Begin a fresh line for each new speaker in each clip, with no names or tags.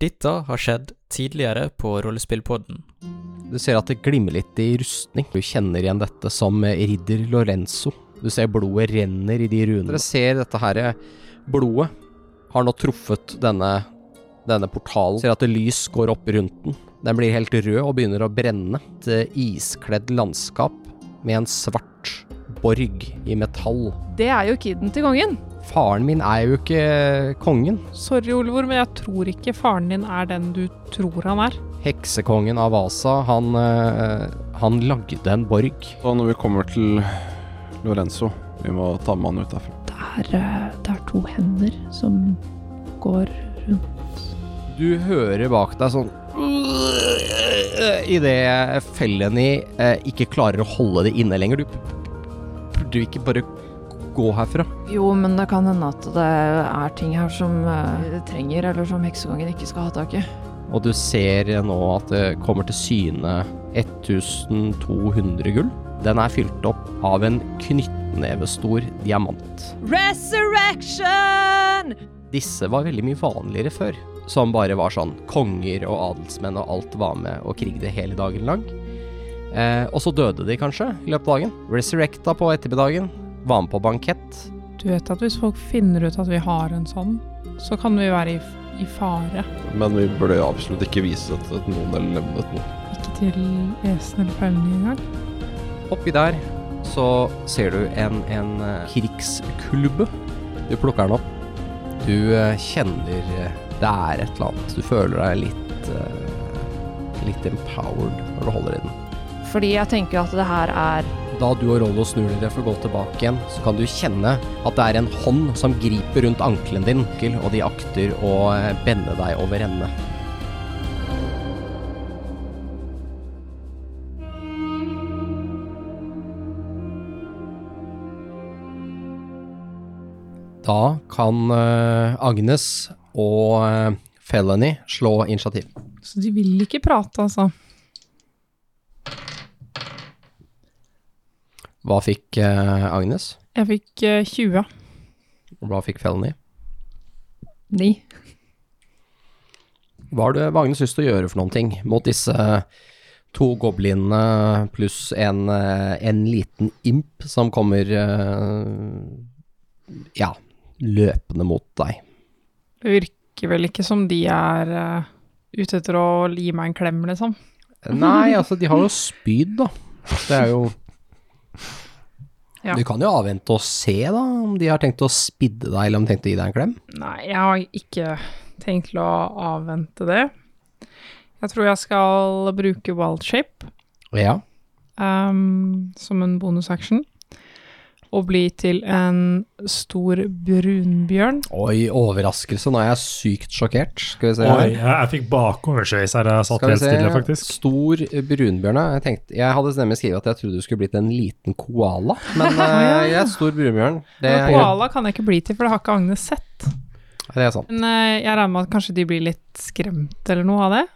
Dette har skjedd tidligere på Rollespillpodden.
Du ser at det glimmer litt i rustning. Du kjenner igjen dette som eh, ridder Lorenzo. Du ser blodet renner i de runene. Dere ser dette her eh, blodet har nå truffet denne, denne portalen. Ser at det lys går opp rundt den. Den blir helt rød og begynner å brenne. Et eh, iskledd landskap med en svart borg i metall.
Det er jo kiden til kongen.
Faren min er jo ikke eh, kongen.
Sorry, Olvor, men jeg tror ikke faren din er den du tror han er.
Heksekongen av Vasa, han, eh, han lagde en borg.
Da når vi kommer til Lorenzo, vi må ta med han ut derfra.
Det er, eh, det er to hender som går rundt.
Du hører bak deg sånn Idet Felleny eh, ikke klarer å holde det inne lenger. Du burde du ikke bare gå herfra.
Jo, men det kan hende at det er ting her som eh, det trenger, eller som heksekongen ikke skal ha tak i.
Og du ser nå at det kommer til syne 1200 gull. Den er fylt opp av en knyttnevestor diamant.
Resurrection!
Disse var veldig mye vanligere før. Som bare var sånn konger og adelsmenn og alt var med og krigde hele dagen lang. Eh, og så døde de kanskje i løpet av dagen. Resurrecta på ettermiddagen. Var med på bankett.
Du vet at hvis folk finner ut at vi har en sånn, så kan vi være i, f- i fare.
Men vi burde absolutt ikke vise dette til noen eller nevne det til noen.
Ikke til Esen eller Paulin engang.
Oppi der så ser du en, en eh, krigsklubbe. Du plukker den opp. Du eh, kjenner eh, det er et eller annet. Du føler deg litt eh, litt empowered når du holder i den.
Fordi jeg tenker at det her er
Da du og Rollo snur dere for å gå tilbake igjen, så kan du kjenne at det er en hånd som griper rundt ankelen din, onkel, og de akter å eh, bende deg over ende. Da kan eh, Agnes og eh, Felony slå initiativ.
Så de vil ikke prate, altså.
Hva fikk eh, Agnes?
Jeg fikk eh, 20.
Hva fikk Felony?
Ni.
Hva har du Vagnes lyst til å gjøre for noen ting mot disse to goblinene pluss en, eh, en liten imp som kommer eh, ja, løpende mot deg?
Det virker vel ikke som de er eh, ute etter å gi meg en klem, liksom.
Nei, altså, de har jo spyd, da. Det er jo
Ja.
Du kan jo avvente og se, da, om de har tenkt å spidde deg, eller om de tenkte å gi deg en klem.
Nei, jeg har ikke tenkt til å avvente det. Jeg tror jeg skal bruke wild shape
Ja.
ehm, som en bonusaction. Og bli til en stor brunbjørn.
Oi, overraskelse. Nå er jeg sykt sjokkert. Skal vi se
Oi, jeg, jeg fikk bakoversveis her. Jeg satt
Skal vi
helt
se,
stille, faktisk.
Stor brunbjørn, ja. jeg tenkte Jeg hadde nemlig skrevet at jeg trodde du skulle blitt en liten koala, men eh, jeg er stor brunbjørn. Det,
Men koala kan jeg ikke bli til, for det har ikke Agnes sett.
det er sant.
Men eh, jeg regner med at kanskje de blir litt skremt eller noe av det.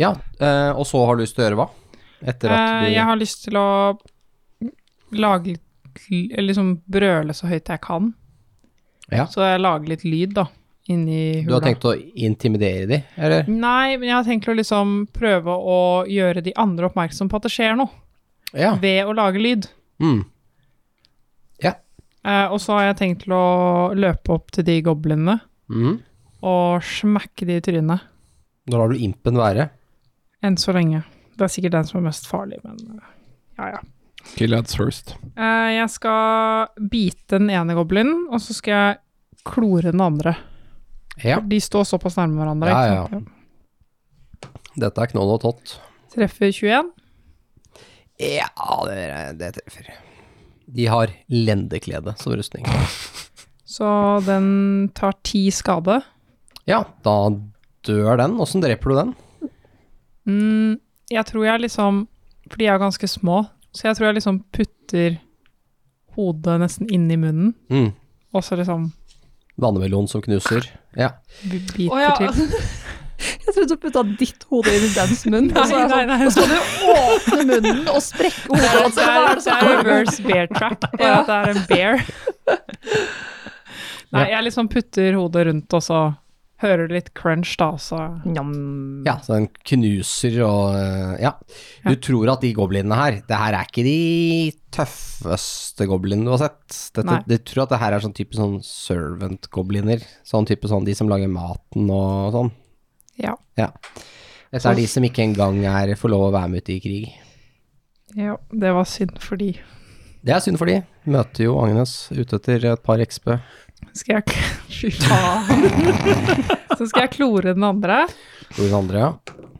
Ja, eh, og så har du lyst til å gjøre hva? Etter at
Eh,
du
Jeg har lyst til å lage litt l- eller Liksom brøle så høyt jeg kan.
Ja.
Så jeg lager litt lyd, da, inni hula.
Du har tenkt å intimidere de, eller?
Nei, men jeg har tenkt å liksom prøve å gjøre de andre oppmerksom på at det skjer noe,
Ja.
ved å lage lyd.
Mm.
Eh, og så har jeg tenkt til å løpe opp til de goblinene
Mm.
og smekke de i trynet.
Da lar du impen være.
Enn så lenge. Det er sikkert den som er mest farlig, men eh, ja, ja.
Kill ads first.
Eh, jeg skal bite den ene goblinen, og så skal jeg klore den andre.
Ja.
For De står såpass nærme hverandre.
Ja,
ikke sant?
Dette er knoll og tott.
Treffer 21.
Ja, det, det treffer. De har lendeklede som rustning.
Så den tar 10 skade.
Ja, da dør den. Åssen dreper du den?
Mm, jeg tror jeg liksom For de er jo ganske små, så jeg tror jeg liksom putter hodet nesten inn i munnen,
Mm.
og så liksom
Vannmelon som knuser. Ja.
b- biter
Å ja.
til.
Jeg trodde du putta ditt hode inn i dens munn. og så er jeg sånn,
nei.
Nå skal du åpne munnen og sprekke hodet. hans,
Altså, Det
eller hva er det
er, det
sånn
som
er reverse bear trap, bare at det er en bear. Nei, jeg liksom putter hodet rundt, og så hører du litt crunch, da, så
Njam.
Ja, så den knuser og eh, Ja. Du
Ja.
tror at de goblinene her Det her er ikke de tøffeste goblinene du har sett. Dette,
Nei.
du tror at det her er sånn type sånn servant-gobliner. Sånn type sånn de som lager maten og sånn.
ja.
Dette er de som ikke engang er får lov å være med ute i krig.
ja. Det var synd for de.
Det er synd for de. Møter jo Agnes ute etter et par XP.
Skal jeg k- Fy faen. så skal jeg klore den andre.
Hvor den andre, ja.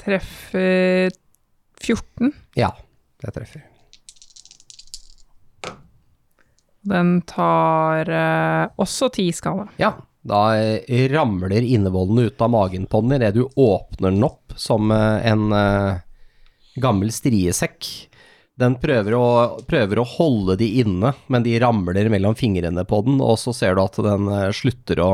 Treffer 14.
Ja, det treffer.
Den tar eh, også 10 skade.
Ja, da eh, ramler innevollene ut av magen på den idet du åpner den opp som eh, en eh, gammel striesekk. Den prøver å, prøver å holde de inne, men de ramler mellom fingrene på den, og så ser du at den eh, slutter å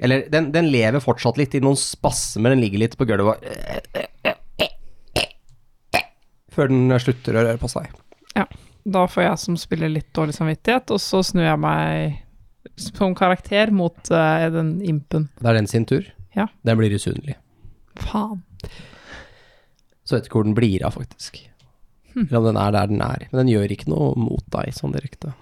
Eller den, den lever fortsatt litt i noen spasmer, den ligger litt på gulvet og- Før den slutter å røre på seg.
Da får jeg som spiller litt dårlig samvittighet, og så snur jeg meg som karakter mot eh, den impen.
Det er den sin tur.
Ja.
Den blir usynlig.
Faen.
Så vet jeg ikke hvor den blir av, faktisk.
Hm.
Eller om den er der den er. Men den gjør ikke noe mot deg, sånn direkte.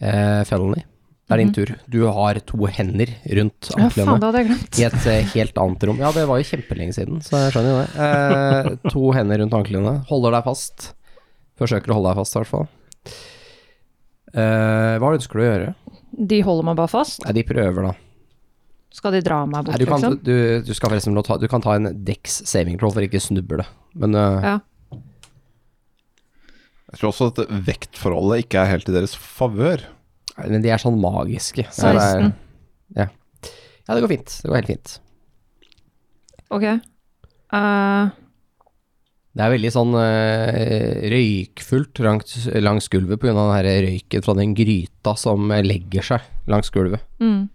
Eh, Felony, det er din tur. Du har to hender rundt
Mhm. Ja, faen, det
anklene.
hadde jeg glemt.
I et eh, helt annet rom. Ja, det var jo kjempelenge siden, så jeg skjønner jo det. Eh, to hender rundt anklene. Holder deg fast. Forsøker å holde deg fast, i hvert fall. Eh, hva ønsker du å gjøre?
De holder meg bare fast.
Nei, de prøver, da.
Skal de dra meg bort,
Nei, du, kan,
liksom?
du, du skal forresten nå ta, du kan ta en Dex saving troll for ikke å snuble. Men eh,
Ja.
Jeg tror også at vektforholdet ikke er helt i deres favør.
Nei, Men de er sånn magiske. så det er-
16.
Ja, det går fint. Det går helt fint.
Ok. Eh,
Det er veldig sånn eh, røykfullt langs, langs gulvet pga. den her røyken fra den gryta som legger seg langs gulvet.
mm.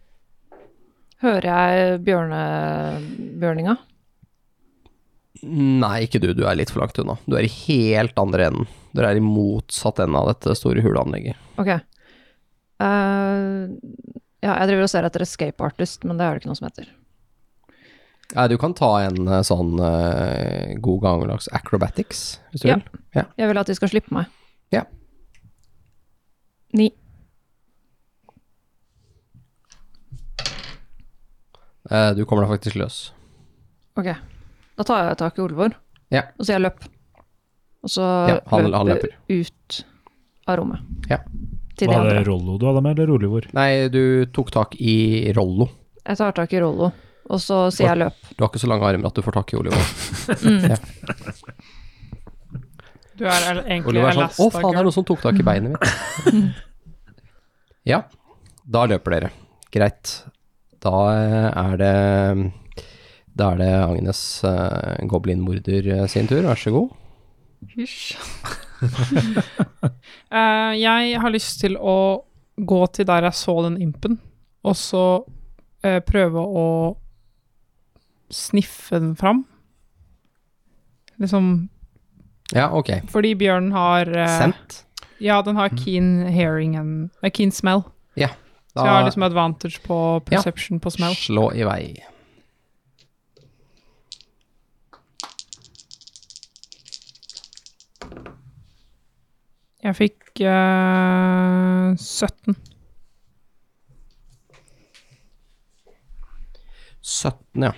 Hører jeg bjørne, bjørninga?
Nei, ikke du. Du er litt for langt unna. Du er i helt andre enden. Dere er i motsatt ende av dette store huleanlegget.
Ok. Eh, ja, jeg driver og ser etter escape artist, men det er det ikke noe som heter.
Nei, du kan ta en eh, sånn eh, god gammeldags acrobatics, hvis du
Ja.
vil.
Jeg vil at de skal slippe meg.
Ja.
Ni.
Eh, du kommer deg faktisk løs.
Ok. Da tar jeg tak i Olvor,
Ja.
og så jeg løp. Og så
Ja, han- han
løper ut av rommet.
Ja.
Til de
Var det
andre.
Rollo du hadde med, eller Olivor?
Nei, du tok tak i Rollo.
Jeg tar tak i Rollo, og så sier jeg løp.
Du har ikke så lange armer at du får tak i Oliver.
Du er el- egentlig
Oliver er sånn Å, faen, det er
Elastigirl.
noen som tok tak i beinet mitt. ja, da løper dere. Greit. Da eh, er det Da er det Agnes eh, goblinmorder eh, sin tur, vær så god.
Hysj. Eh, jeg har lyst til å gå til der jeg så den impen, og så eh, prøve å sniffe den fram. Liksom
Ja, ok.
Fordi bjørnen har eh,
Sendt.
Ja, den har keen hearing and eh, keen smell. Så jeg har
Da
liksom advantage på perception på smell.
slå i vei.
Jeg fikk eh, 17.
17, ja.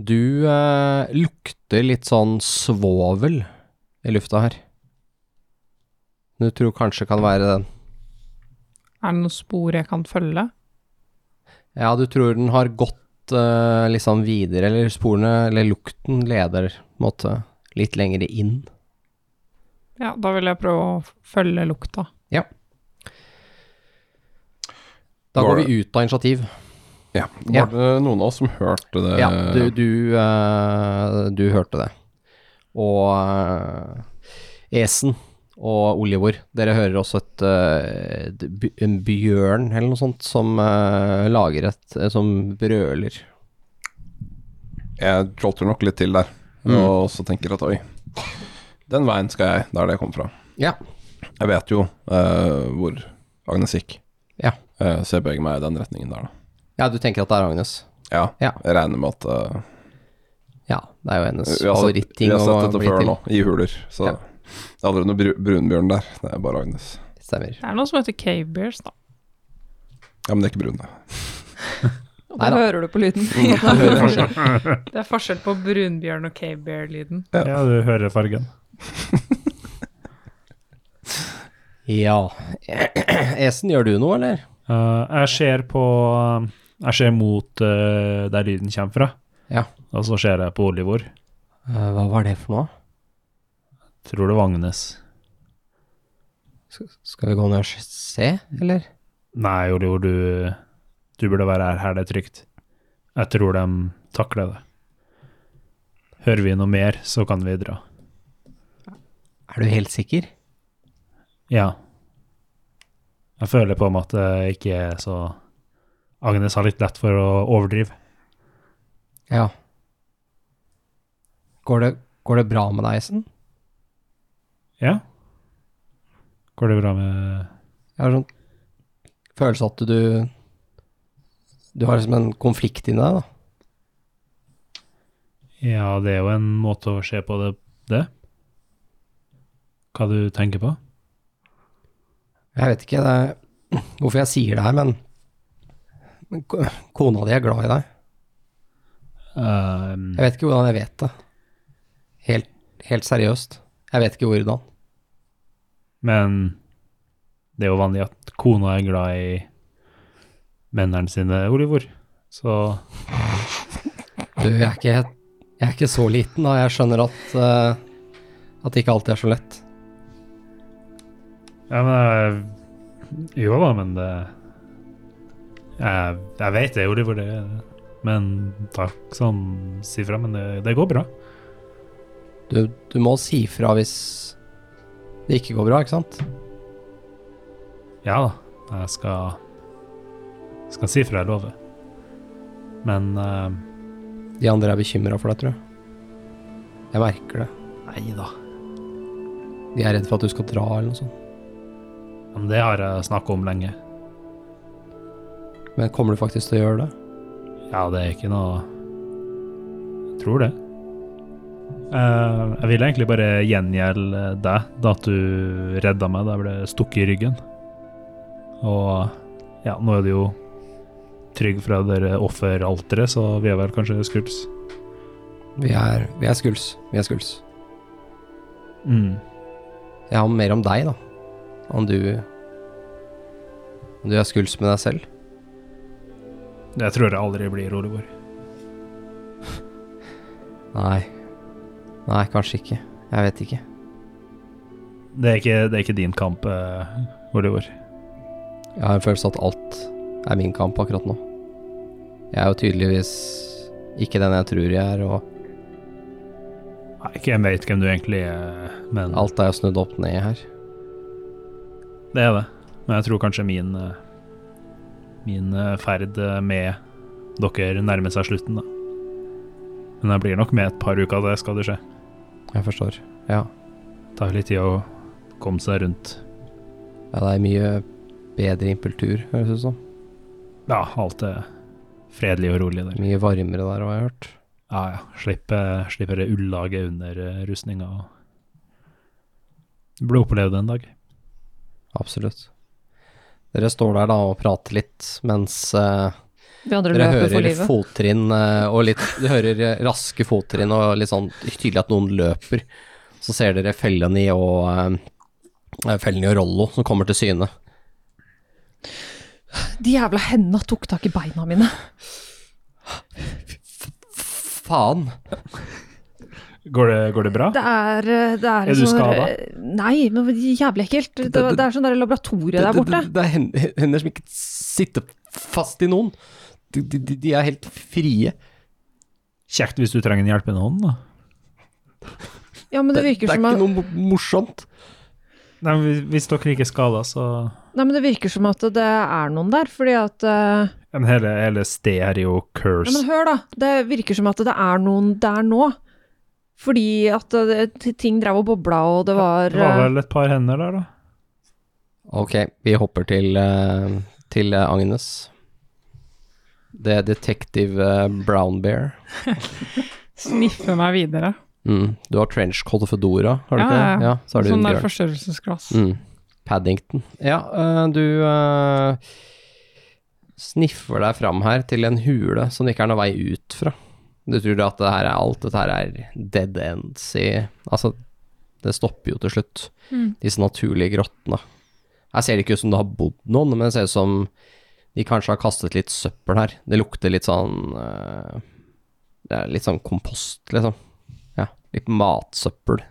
Du eh, lukter litt sånn svovel i lufta her. Du tror kanskje kan være den.
Er det noen spor jeg kan følge?
Ja, du tror den har gått eh, liksom videre, eller sporene, eller lukten leder på en måte litt lenger inn.
Ja, da vil jeg prøve å f- følge lukta.
Da
Var
går vi ut av initiativ.
Ja. Var
Ja.
det noen av oss som hørte det?
Ja, du, du, eh, du hørte det. Og eh, Esen og Olivor, dere hører også et, eh, et by- en bjørn eller noe sånt som eh, lager et Som brøler.
Jeg jolter nok litt til der, og så tenker at oi, den veien skal jeg, der det kom fra.
Ja.
Jeg vet jo eh, hvor Agnes gikk.
Ja.
Eh, Så jeg beveger meg i den retningen der, da.
Ja, du tenker at det er Agnes?
Ja.
Ja.
Jeg regner med at eh,
Ja, det er jo hennes
vi, har sett, vi
favoritting
har
å
sett dette
bli
før
til.
nå, i huler. Så
Ja.
det er aldri noe bru- brunbjørn der. Det er bare Agnes.
Stemmer.
Det er noe som heter cave bears, da.
Ja, men det er ikke brun, det.
Og
Nei
det
da. Mm.
hører du på lyden.
Det er forskjell på brunbjørn og cave bear-lyden.
Ja, du hører fargen.
Ja. Esen, gjør du noe, eller?
Eh, jeg ser på Jeg ser mot eh, der lyden kommer fra,
Ja.
og så ser jeg på Olivor.
Eh, hva var det for noe?
Tror det var Agnes.
Skal vi gå ned og s- se, eller?
Nei, Olivor, du, du burde være her. Her er det trygt. Jeg tror de takler det. Hører vi noe mer, så kan vi dra.
Er du helt sikker?
Ja. Jeg føler på meg at det ikke er så Agnes har litt lett for å overdrive.
Ja. Går det, går det bra med deg, Esen?
Ja. Går det bra med
Jeg har sånn følelse at du Du har liksom en konflikt inni deg, da.
Ja, det er jo en måte å se på det, det. Hva du tenker på?
Jeg vet ikke det, er- hvorfor jeg sier det her, men, men ko- kona di er glad i deg.
Ehm,
Jeg vet ikke hvordan jeg vet det. Helt, helt seriøst. Jeg vet ikke hvordan.
men det er jo vanlig at kona er glad i mennene sine, Olivor. Så
Du, jeg er ikke, jeg er ikke så liten, da. Jeg skjønner at, eh, at det ikke alltid er så lett.
Ja, men jeg, Jo da, men det Jeg, jeg vet det, Oliver, det Men takk som sier fra, men det, det går bra.
Du, du må si fra hvis det ikke går bra, ikke sant?
Ja da, jeg skal Skal si fra, jeg lover. Men eh,
De andre er bekymra for deg, tror jeg. Jeg merker det.
Nei da.
De er redd for at du skal dra eller noe sånt.
Men det har jeg snakka om lenge.
Men kommer du faktisk til å gjøre det?
Ja, det er ikke noe Jeg tror det. Eh, jeg vil egentlig bare gjengjelde deg, da at du redda meg da jeg ble stukket i ryggen. Og ja, nå er du jo trygg fra dere offeralteret, så vi er vel kanskje skuls.
Vi er, vi er skuls. Vi er skuls.
Mm.
Jeg har mer om deg, da. Om du Om du er skuls med deg selv.
Jeg tror jeg aldri blir Olivor.
Nei. Nei, kanskje ikke. Jeg vet ikke.
Det er ikke, det er ikke din kamp, eh, Olivor.
Jeg har en følelse av at alt er min kamp akkurat nå. Jeg er jo tydeligvis ikke den jeg tror jeg er, og
Nei, ikke jeg vet hvem du egentlig er, men
alt er jo snudd opp ned her.
Det er det. Men jeg tror kanskje min eh, Min eh, ferd eh, med dere nærmer seg slutten, da. Men jeg blir nok med et par uker, det skal det skje.
Jeg forstår. Ja.
Det tar litt tid å komme seg rundt.
ja det er mye bedre impultur, høres det ut som.
Ja, alt er fredelig og rolig der.
Mye varmere der, har jeg hørt.
Ja, ja. Slipper, slipper det ullaget under eh, rustninga og blir opplevd en dag.
Absolutt. Dere står der da og prater litt, mens eh,
De andre
dere
løper for
hører
livet.
fottrinn eh, og litt Du hører eh, raske fottrinn og litt sånn tydelig at noen løper. Så ser dere Felleny og eh, Felleny og Rollo som kommer til syne.
De jævla hendene tok tak i beina mine.
Faen!
Går det, går det bra?
Det er, eh, det er,
Er du
sånn-
skadet?
Nei, men det er jævlig ekkelt. Det, det, er sånn der laboratorie der borte.
Det, det, det er hender, hender som ikke sitter fast i noen. De, de, de- de er helt frie.
Kjekt hvis du trenger en hjelpende hånd, da.
Ja, men det
det
virker
er
som
ikke
at,
noe mo- morsomt.
Nei, men hvis dere ikke er skada, så
nei, men det virker som at det er noen der, fordi at eh,
Men hele, hele stedet her er jo
Ja, men
cursed.
hør da, det virker som at det er noen der nå. Fordi at eh, t- ting drev og bobla, og det var
Det var
eh,
vel et par hender der, da.
Ok, vi hopper til, eh, til eh, Agnes. Det er detektiv eh, Brown Bear.
Sniffe meg videre.
Mm. Du har trenchcoat og fedora, har du
Ja,
ikke
ja,
det?
ja.
Ja, så har du
sånn
en
der
bjørn.
forstørrelsesglass.
Mm. Paddington. Ja, øh, du øh, sniffer deg fram her til en hule som det ikke er noen vei ut fra. Du tror at det her er alt, dette her er dead ends i Altså, det stopper jo til slutt.
Mm.
Disse naturlige grottene. Her ser det ikke ut som det har bodd noen, men det ser ut som de kanskje har kastet litt søppel her. Det lukter litt sånn øh, Det er litt sånn kompost, liksom. Ja, litt matsøppel.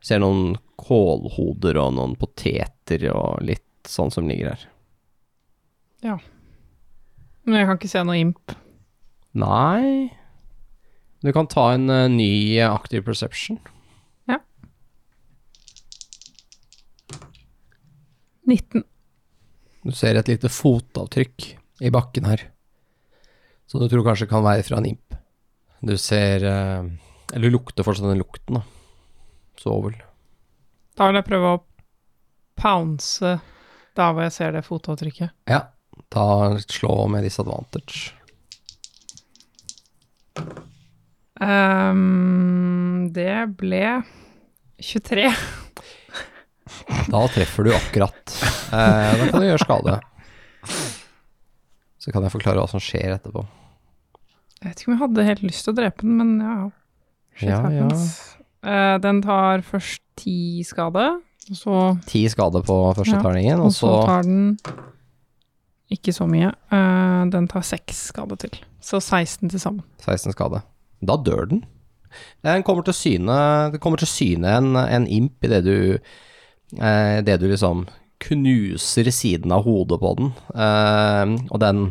Ser noen kålhoder og noen poteter og litt sånn som ligger her.
Men jeg kan ikke se noe imp.
Nei Du kan ta en eh, ny eh, active perception.
19.
Du ser et lite fotavtrykk i bakken her, som du tror kanskje kan være fra en imp. Du ser eh, Eller du lukter fortsatt den lukten, da. Sovel.
Da vil jeg prøve å pounce der hvor jeg ser det fotavtrykket.
Ja. Ta slå med disadvantage.
Ehm, det ble 23.
Da treffer du akkurat. Eh, da kan du gjøre skade. Så kan jeg forklare hva som skjer etterpå.
Jeg vet ikke om jeg hadde helt lyst til å drepe den, men ja. Shit
Ja, ja.
happens. Eh, den tar først ti skade, og så,
Ti skade på første
Ja,
terningen,
og
og
så
så
tar den ikke så mye. Eh, den tar seks skade til. Så 16 til sammen.
16 skade. Da dør den. Eh, Den kommer til syne, det kommer til syne en, en imp idet du, eh, det du liksom knuser siden av hodet på den. Eh, og den,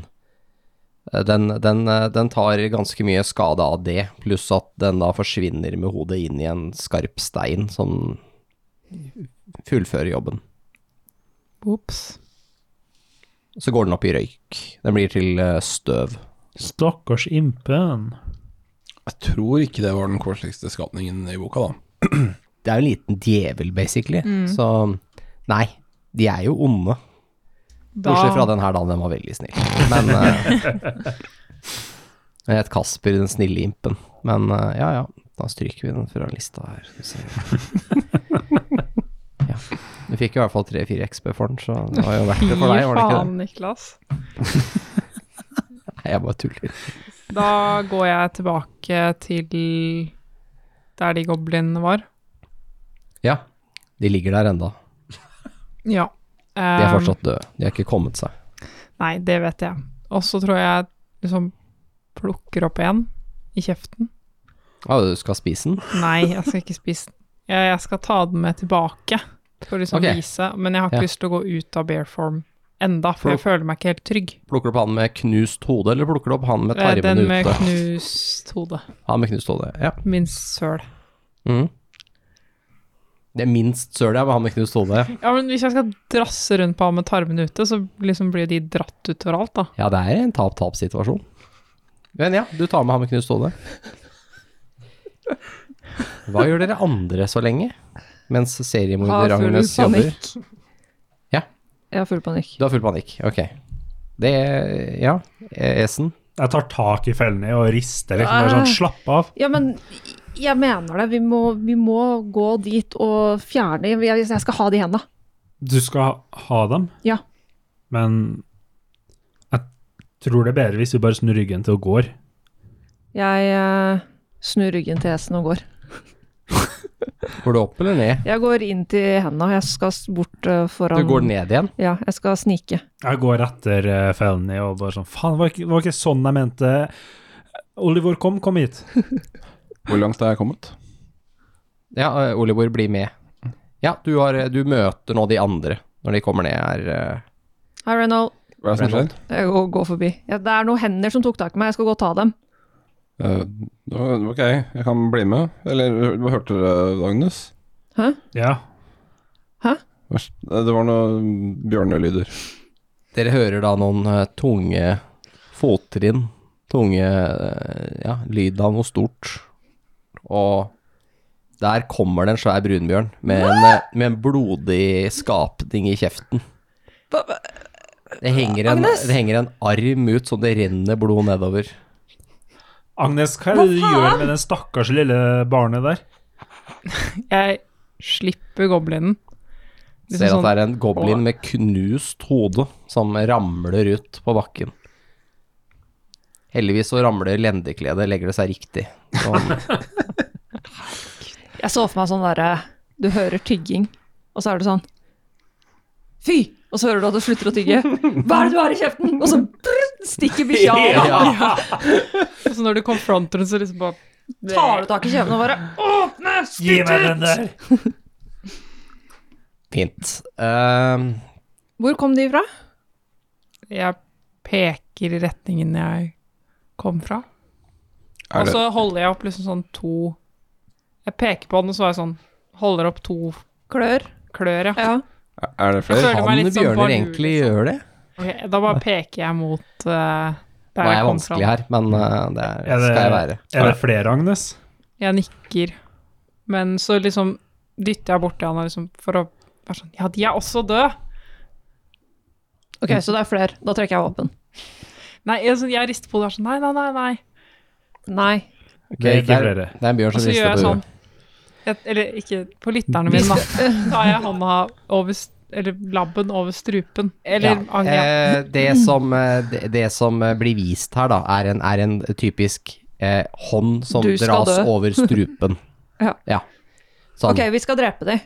den, den, eh, den tar ganske mye skade av det, pluss at den da forsvinner med hodet inn i en skarp stein som fullfører jobben.
Ops.
Så går den opp i røyk. Den blir til eh, støv.
Stakkars impen.
Jeg tror ikke det var den koseligste skapningen i boka, da.
det er jo en liten djevel, basically.
Mm.
Så nei, de er jo onde. Bortsett fra den her, da. Den var veldig snill. Men eh, Den het Kasper, den snille impen. Men eh, ja, ja. Da stryker vi den fra lista her. Skal vi se. ja. Du fikk jo i hvert fall 3-4 XB for den, så det var jo verdt det for deg, var det ikke det?
faen, Niklas.
Nei, jeg bare tuller.
Da går jeg tilbake til der de goblinene var.
Ja, de ligger der enda.
Ja.
De er
Ehm,
fortsatt døde. De har ikke kommet seg.
Nei, det vet jeg. Og så tror jeg liksom plukker opp en i kjeften.
Å, du skal spise den?
Nei, jeg skal ikke spise den. Jeg, jeg skal ta den med tilbake for å liksom
Ok.
vise, men jeg har ikke
Ja.
lyst til å gå ut av bear form enda, for jeg føler meg ikke helt trygg.
Plukker du opp han med knust hode, eller plukker du opp han med
Eh, Den
tarmene
med
ute?
knust hode.
Han med knust hode, ja.
Min søl.
Mm. Det er minst søl jeg vil ha med knust hode.
Ja, men hvis jeg skal drasse rundt på ham med tarmene ute, så liksom blir de dratt ut overalt, da.
Ja, det er en tap-tap-situasjon. Men ja, du tar med han med knust hode. Hva gjør dere andre så lenge? Mens seriemorder Agnes jobber? Ja.
Jeg har full panikk.
Du har full panikk, ok. Det er Ja, Esen.
Jeg tar tak i fellene og rister liksom bare sånn,
Ah.
slapp av.
Ja, men jeg mener det. Vi må, vi må gå dit og fjerne Jeg, jeg skal ha de henda.
Du skal ha dem,
Ja.
men jeg tror det er bedre hvis du bare snur ryggen til og går.
Jeg eh, snur ryggen til hesten og går.
Går du opp eller ned?
Jeg går inn til henda, jeg skal s- bort eh,
Du
foran
går ned igjen.
Ja, jeg skal snike.
Jeg går etter eh, fellene og bare sånn Faen, var ikke, var ikke sånn jeg mente. Olivor, kom, kom hit.
Hvor langt er jeg kommet?
Ja, eh, Olivor, bli med. Ja, du, har, du møter nå de andre når de kommer ned her. eh.
Hei, Reynold.
Hva er det som skjer?
Jeg går, går forbi.
Ja, det er noen hender som tok tak i meg. Jeg skal gå og ta dem.
Eh, da- ok, jeg kan bli med. Eller hva hørte dere, Agnes?
Ja.
Hva s- eh, Det var noen bjørnelyder.
Dere hører da noen eh, tunge fottrinn, tunge eh, ja, lyd av noe stort. Og der kommer det en svær brunbjørn med en, eh, med en blodig skapning i kjeften. Det henger, en,
Agnes!
det henger en arm ut så det renner blod nedover.
Agnes, hva er det du gjør med den stakkars lille barnet der?
Jeg slipper goblinen. Liksom
Ser at
sånn-
det er en goblin med knust hode som ramler ut på bakken. Heldigvis så ramler lendekledet, legger det seg riktig. Sånn.
Jeg så for meg sånn derre Du hører tygging, og så er du sånn Fy! Og så hører du at du slutter å tygge. Hva er det du har i kjeften? Og så brrr, stikker bikkja av.
Og så når du confronter den, så liksom bare
Tar du tak i kjevene og bare
Gi meg den der!
Fint. Ehm,
Hvor kom de fra?
Jeg peker i retningen jeg kom fra.
Er
Og
det,
så holder jeg opp liksom sånn to Jeg peker på den, og så er jeg sånn Holder opp to
Klør?
klør, ja.
Ja.
er det flere?
Føler meg
kan
litt som
bjørner
barnehul,
egentlig
liksom.
gjøre det?
Ok, da bare peker jeg mot eh,
Nå
der
er
jeg
jeg
kom fra.
vanskelig her, men eh, det
Er
er,
det-
skal jeg være.
Er det flere, Agnes?
Jeg nikker. Men så liksom dytter jeg borti han liksom for å være sånn Ja, de er også døde!
Ok, så det er flere. Da trekker jeg våpen.
Nei, jeg, sånn- jeg rister på det og er sånn Nei, nei, nei. nei.
Nei.
Det er ikke
der-
flere.
Det er en bjørn
Og
som
så gjør
rister
jeg
på
sånn
hodet.
jeg, Eller ikke på lytterne mine, da. Tar jeg hånda over s- Eller labben over strupen. Eller
Ja.
angrer jeg.
Eh, det, som, eh, det, det som eh, blir vist her, da, er en, er en typisk eh, hånd som
Du skal
dras
dø.
over strupen.
Ja.
Sånn.
Ok, vi skal drepe de.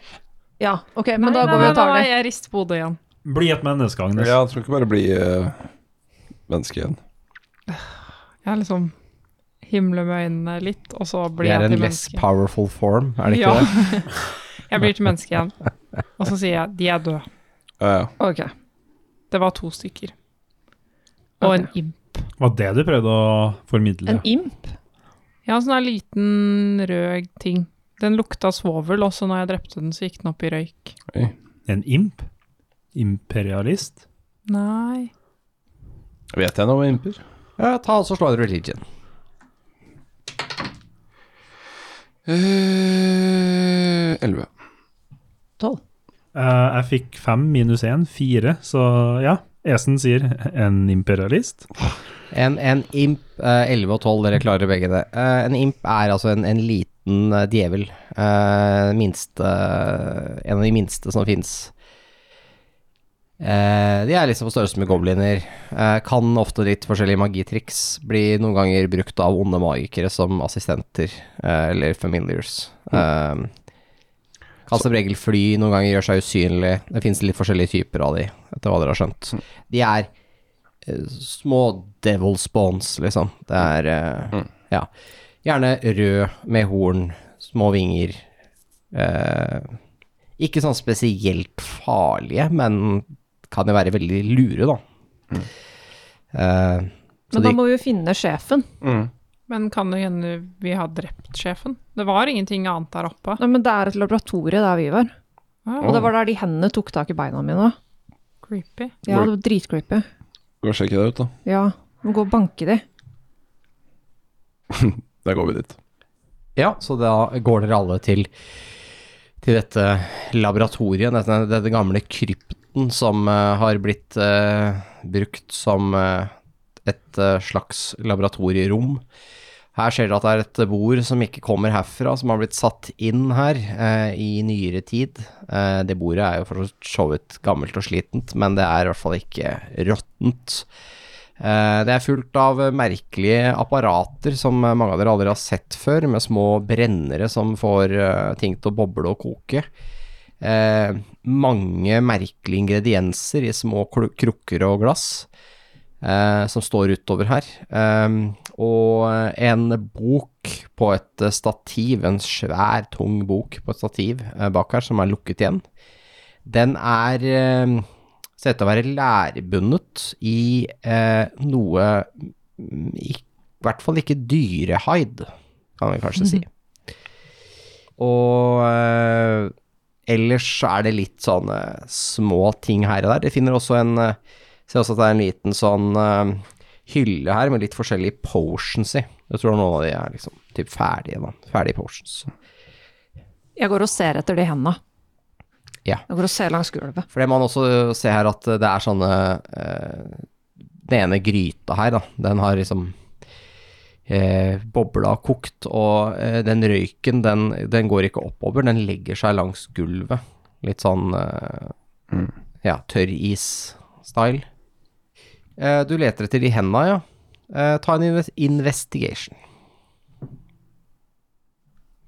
Ja, ok,
Nei,
men da
nei,
går vi
nei,
og tar
nei,
de.
Jeg rister på hodet igjen.
Bli et menneske, Agnes.
Ja, jeg tror ikke bare bli eh, menneske igjen.
Jeg liksom himler med øynene litt, og så blir
Det er en
jeg til
less
menneske.
powerful form, er det ikke
Ja.
det?
Jeg blir til menneske igjen. Og så sier jeg de er døde.
Ja, ja.
Ok.
Det var to stykker. Og en imp.
Var det du prøvde å formidle?
En imp?
Ja, sånn der liten rød ting. Den lukta svovel, og så når jeg drepte den, så gikk den opp i røyk.
En imp? Imperialist?
Nei
Vet jeg noe om imper?
Ja, ta og så slå en religion.
Eh, Elleve.
Eh, jeg fikk fem minus én, fire, så ja. Esen sier en imperialist.
En, en imp, eh, 11 og 12, dere klarer begge det. Eh, en imp er altså en, en liten eh, djevel. Eh, minste, eh, en av de minste som fins. de er liksom på størrelse med gobliner. Eh, kan ofte litt forskjellige magitriks. Blir noen ganger brukt av onde magikere som assistenter eh, eller familiars. Eh, kan som regel fly, noen ganger gjør seg usynlig. Det fins litt forskjellige typer av de, etter hva dere har skjønt. De er eh, små devil spawns, liksom. Det er eh, ja. Gjerne rød med horn, små vinger. Eh, ikke sånn spesielt farlige, men kan jo være veldig lure, da. Eh, så
Men da
de-
må vi jo finne sjefen.
Mm.
Men kan det hende vi har drept sjefen? Det var ingenting annet der oppe.
Nei, men det er et laboratorie der vi var.
Ah.
Ja,
Og det var der de hendene tok tak i beina mine.
Creepy.
Ja, det var dritcreepy.
Gå og sjekke det ut, da.
Ja, må gå og banke de.
Da går vi dit.
Ja, så da går dere alle til, til dette laboratoriet, dette, dette gamle krypten som eh, har blitt eh, brukt som eh, et eh, slags laboratorierom. Her ser dere at det er et bord som ikke kommer herfra, som har blitt satt inn her eh, i nyere tid. Eh, det bordet er jo for så vidt gammelt og slitent, men det er i hvert fall ikke råttent. Eh, Det er fullt av eh, merkelige apparater som eh, mange av dere aldri har sett før, med små brennere som får eh, ting til å boble og koke. Eh, mange merkelige ingredienser i små kru- krukker og glass eh, som står utover her. Eh, og eh, en bok på et eh, stativ, en svær, tung bok på et stativ eh, bak her, som er lukket igjen. Den er eh, sett til å være lærbundet i eh, noe mm, i, I hvert fall ikke dyrehaid, kan vi kanskje si. Og eh, ellers så er det litt sånne små ting her og der. Jeg finner også en eh, Ser også at det er en liten sånn eh, hylle her med litt forskjellige potions i. Jeg tror noen av de er liksom typ ferdige, da. Ferdige potions.
Jeg går og ser etter de hendene.
Ja.
Jeg går og ser langs gulvet.
For det man også ser her, at det er sånne eh, Den ene gryta her, da, den har liksom eh, bobla og kokt, og eh, den røyken, den, den går ikke oppover, den legger seg langs gulvet. Litt sånn eh,
Mm.
ja, tørris-style. Eh, du leter etter de henda, ja. Eh, ta en inves- investigation.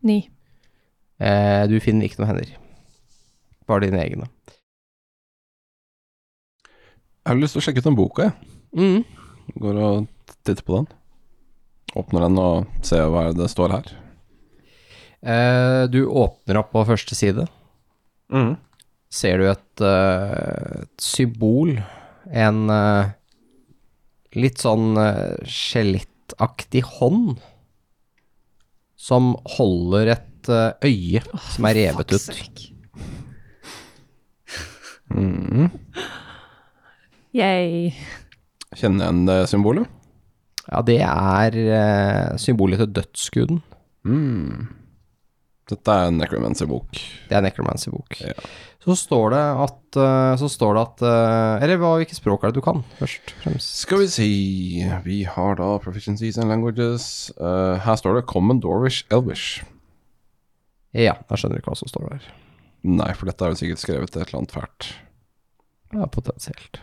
Ni.
Eh, du finner ikke noen hender. Bare dine egne.
Jeg har lyst til å sjekke ut den boka, jeg.
Mm.
Går og titter på den. Åpner den og ser hva det står her.
Eh, du åpner opp på første side. ser du et, eh, et symbol, en eh, litt sånn eh, skjelettaktig hånd, som holder et eh, øye som er revet ut. Mm.
Mhm.
Yay.
Kjenner jeg igjen det symbolet?
Ja, det er eh, symbolet til dødsguden.
Mm. Dette er en necromancy-bok.
Det er necromancy-bok.
Ja.
Så står det at, eh, så står det at eh, Eller hva, hvilket språk er det du kan, først og fremst?
Skal vi si Vi har da proficiencies and languages. Eh, her står det common dorish elvish.
Ja, jeg skjønner ikke hva som står der.
Nei, for dette er jo sikkert skrevet til et eller annet fælt.
Ja, potensielt.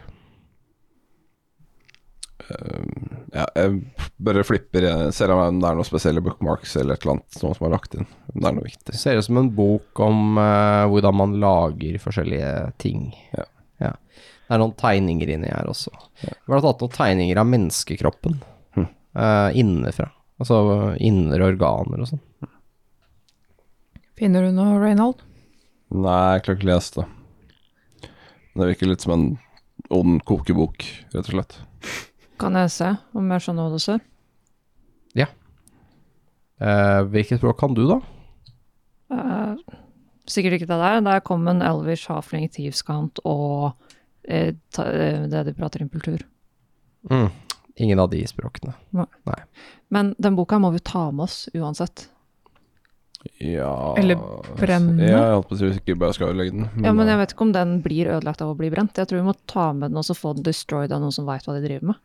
Eh, Ja, jeg bare flipper, jeg ser om det er noen spesielle bookmarks eller et eller annet noen som er lagt inn. Men Det er noe
Det
viktig.
ser ut som en bok om eh, hvordan man lager forskjellige ting.
Ja.
Det er noen tegninger inni her også. Vi har tatt noen tegninger av menneskekroppen
Hm.
eh, innenfra. Altså eh, indre organer og sånn.
Finner du noe, Reynold?
Nei, jeg klarer ikke å lese det. Det virker litt som en ond kokebok, rett og slett.
Kan jeg se om jeg skjønner hva du ser?
Eh, hvilket språk kan du, da?
Eh, sikkert ikke det der. Der kom en Elvish, Hafling, Tivskant og eh, ta, eh, det de prater impultur.
Ingen av de språkene.
Men den boka må vi ta med oss uansett.
Ja
Eller brenne.
Ja, jeg holdt på å si hvis ikke bare skal ødelegge den.
Ja, men jeg vet ikke om den blir ødelagt av å bli brent. Jeg tror vi må ta med den og så få den destroyed av noen som veit hva de driver med.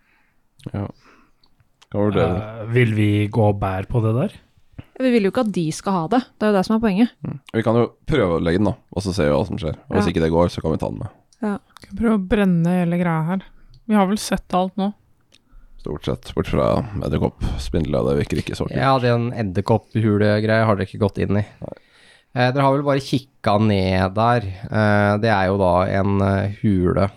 Hva var det?
Eh, vil vi gå og bære på det der?
Vi vil jo ikke at de skal ha det. Det er jo det som er poenget.
Vi kan jo prøve å legge den, da, og så ser vi hva som skjer. Og hvis
Ja.
ikke det går, så kan vi ta den med.
Skal prøve å brenne hele greia her. Vi har vel sett alt nå.
Stort sett. Bort fra edderkopp, spindler, det virker ikke så kult.
Ja, den edderkopphulegreia har dere ikke gått inn i. Eh, dere har vel bare kikka ned der. Eh, det er jo da en eh, hule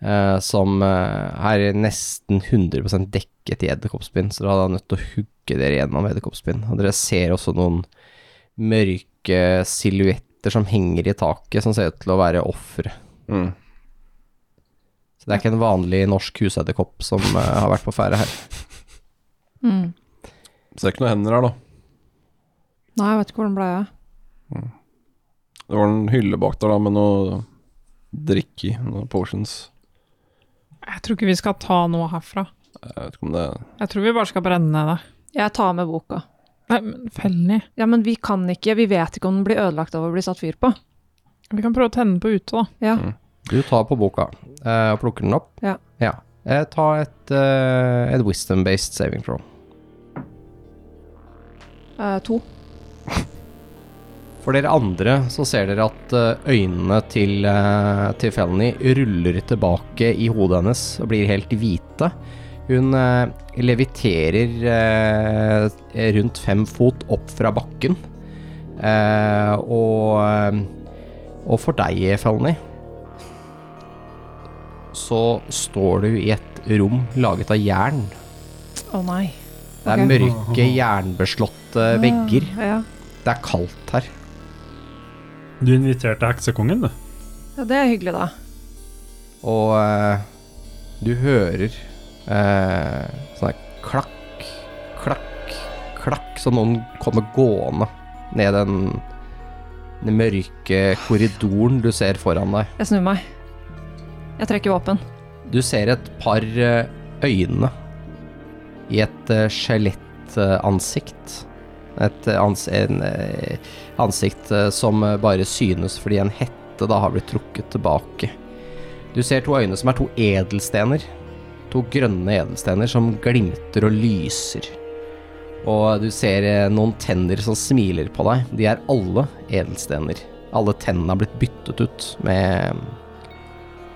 eh, som eh, er nesten 100 dekket i edderkoppspinn, så dere er nødt til å hugge dere gjennom edderkoppspinn. Og dere ser også noen mørke silhuetter som henger i taket, som ser ut til å være ofre.
Mm.
Så det er ikke en vanlig norsk husedderkopp som eh, har vært på ferde her.
Mm.
Ser ikke noen hender her, da.
Nei, jeg vet ikke hvor den ble av.
Det var en hylle bak der da med noe drikke i, noen potions.
Jeg tror ikke vi skal ta noe herfra.
Jeg vet ikke om det
Jeg tror vi bare skal brenne det.
Jeg tar med boka.
Nei, men Felny.
Ja, men vi kan ikke, vi vet ikke om den blir ødelagt av å bli satt fyr på.
Vi kan prøve å tenne på ute, da.
Ja.
Du tar på boka eh, og plukker den opp.
Ja.
Eh, ta et, eh, et wisdom-based saving throw.
Eh, to.
For dere andre så ser dere at eh, øynene til, eh, til Felny ruller tilbake i hodet hennes og blir helt hvite. Hun eh, leviterer eh, rundt fem fot opp fra bakken. Eh, og, eh, og for deg, Felny, så står du i et rom laget av jern.
Å nei.
Det er
Ok.
mørke, jernbeslåtte vegger.
Ja.
Det er kaldt her.
Du inviterte heksekongen, du.
ja, det er hyggelig, da.
Og eh, du hører eh, sånn her klakk, klakk, klakk som noen kommer gående ned den, den mørke korridoren du ser foran deg.
Jeg snur meg. Jeg trekker våpen.
Du ser et par eh, øyne i et eh, skjelettansikt. Et eh, ans en, eh, ansikt eh, som eh, bare eh, synes fordi en hette dette da har blitt trukket tilbake. Du ser to øyne som er to edelstener. To grønne edelstener som glimter og lyser. Og du ser eh, noen tenner som smiler på deg. De er alle edelstener. Alle tennene har blitt byttet ut med,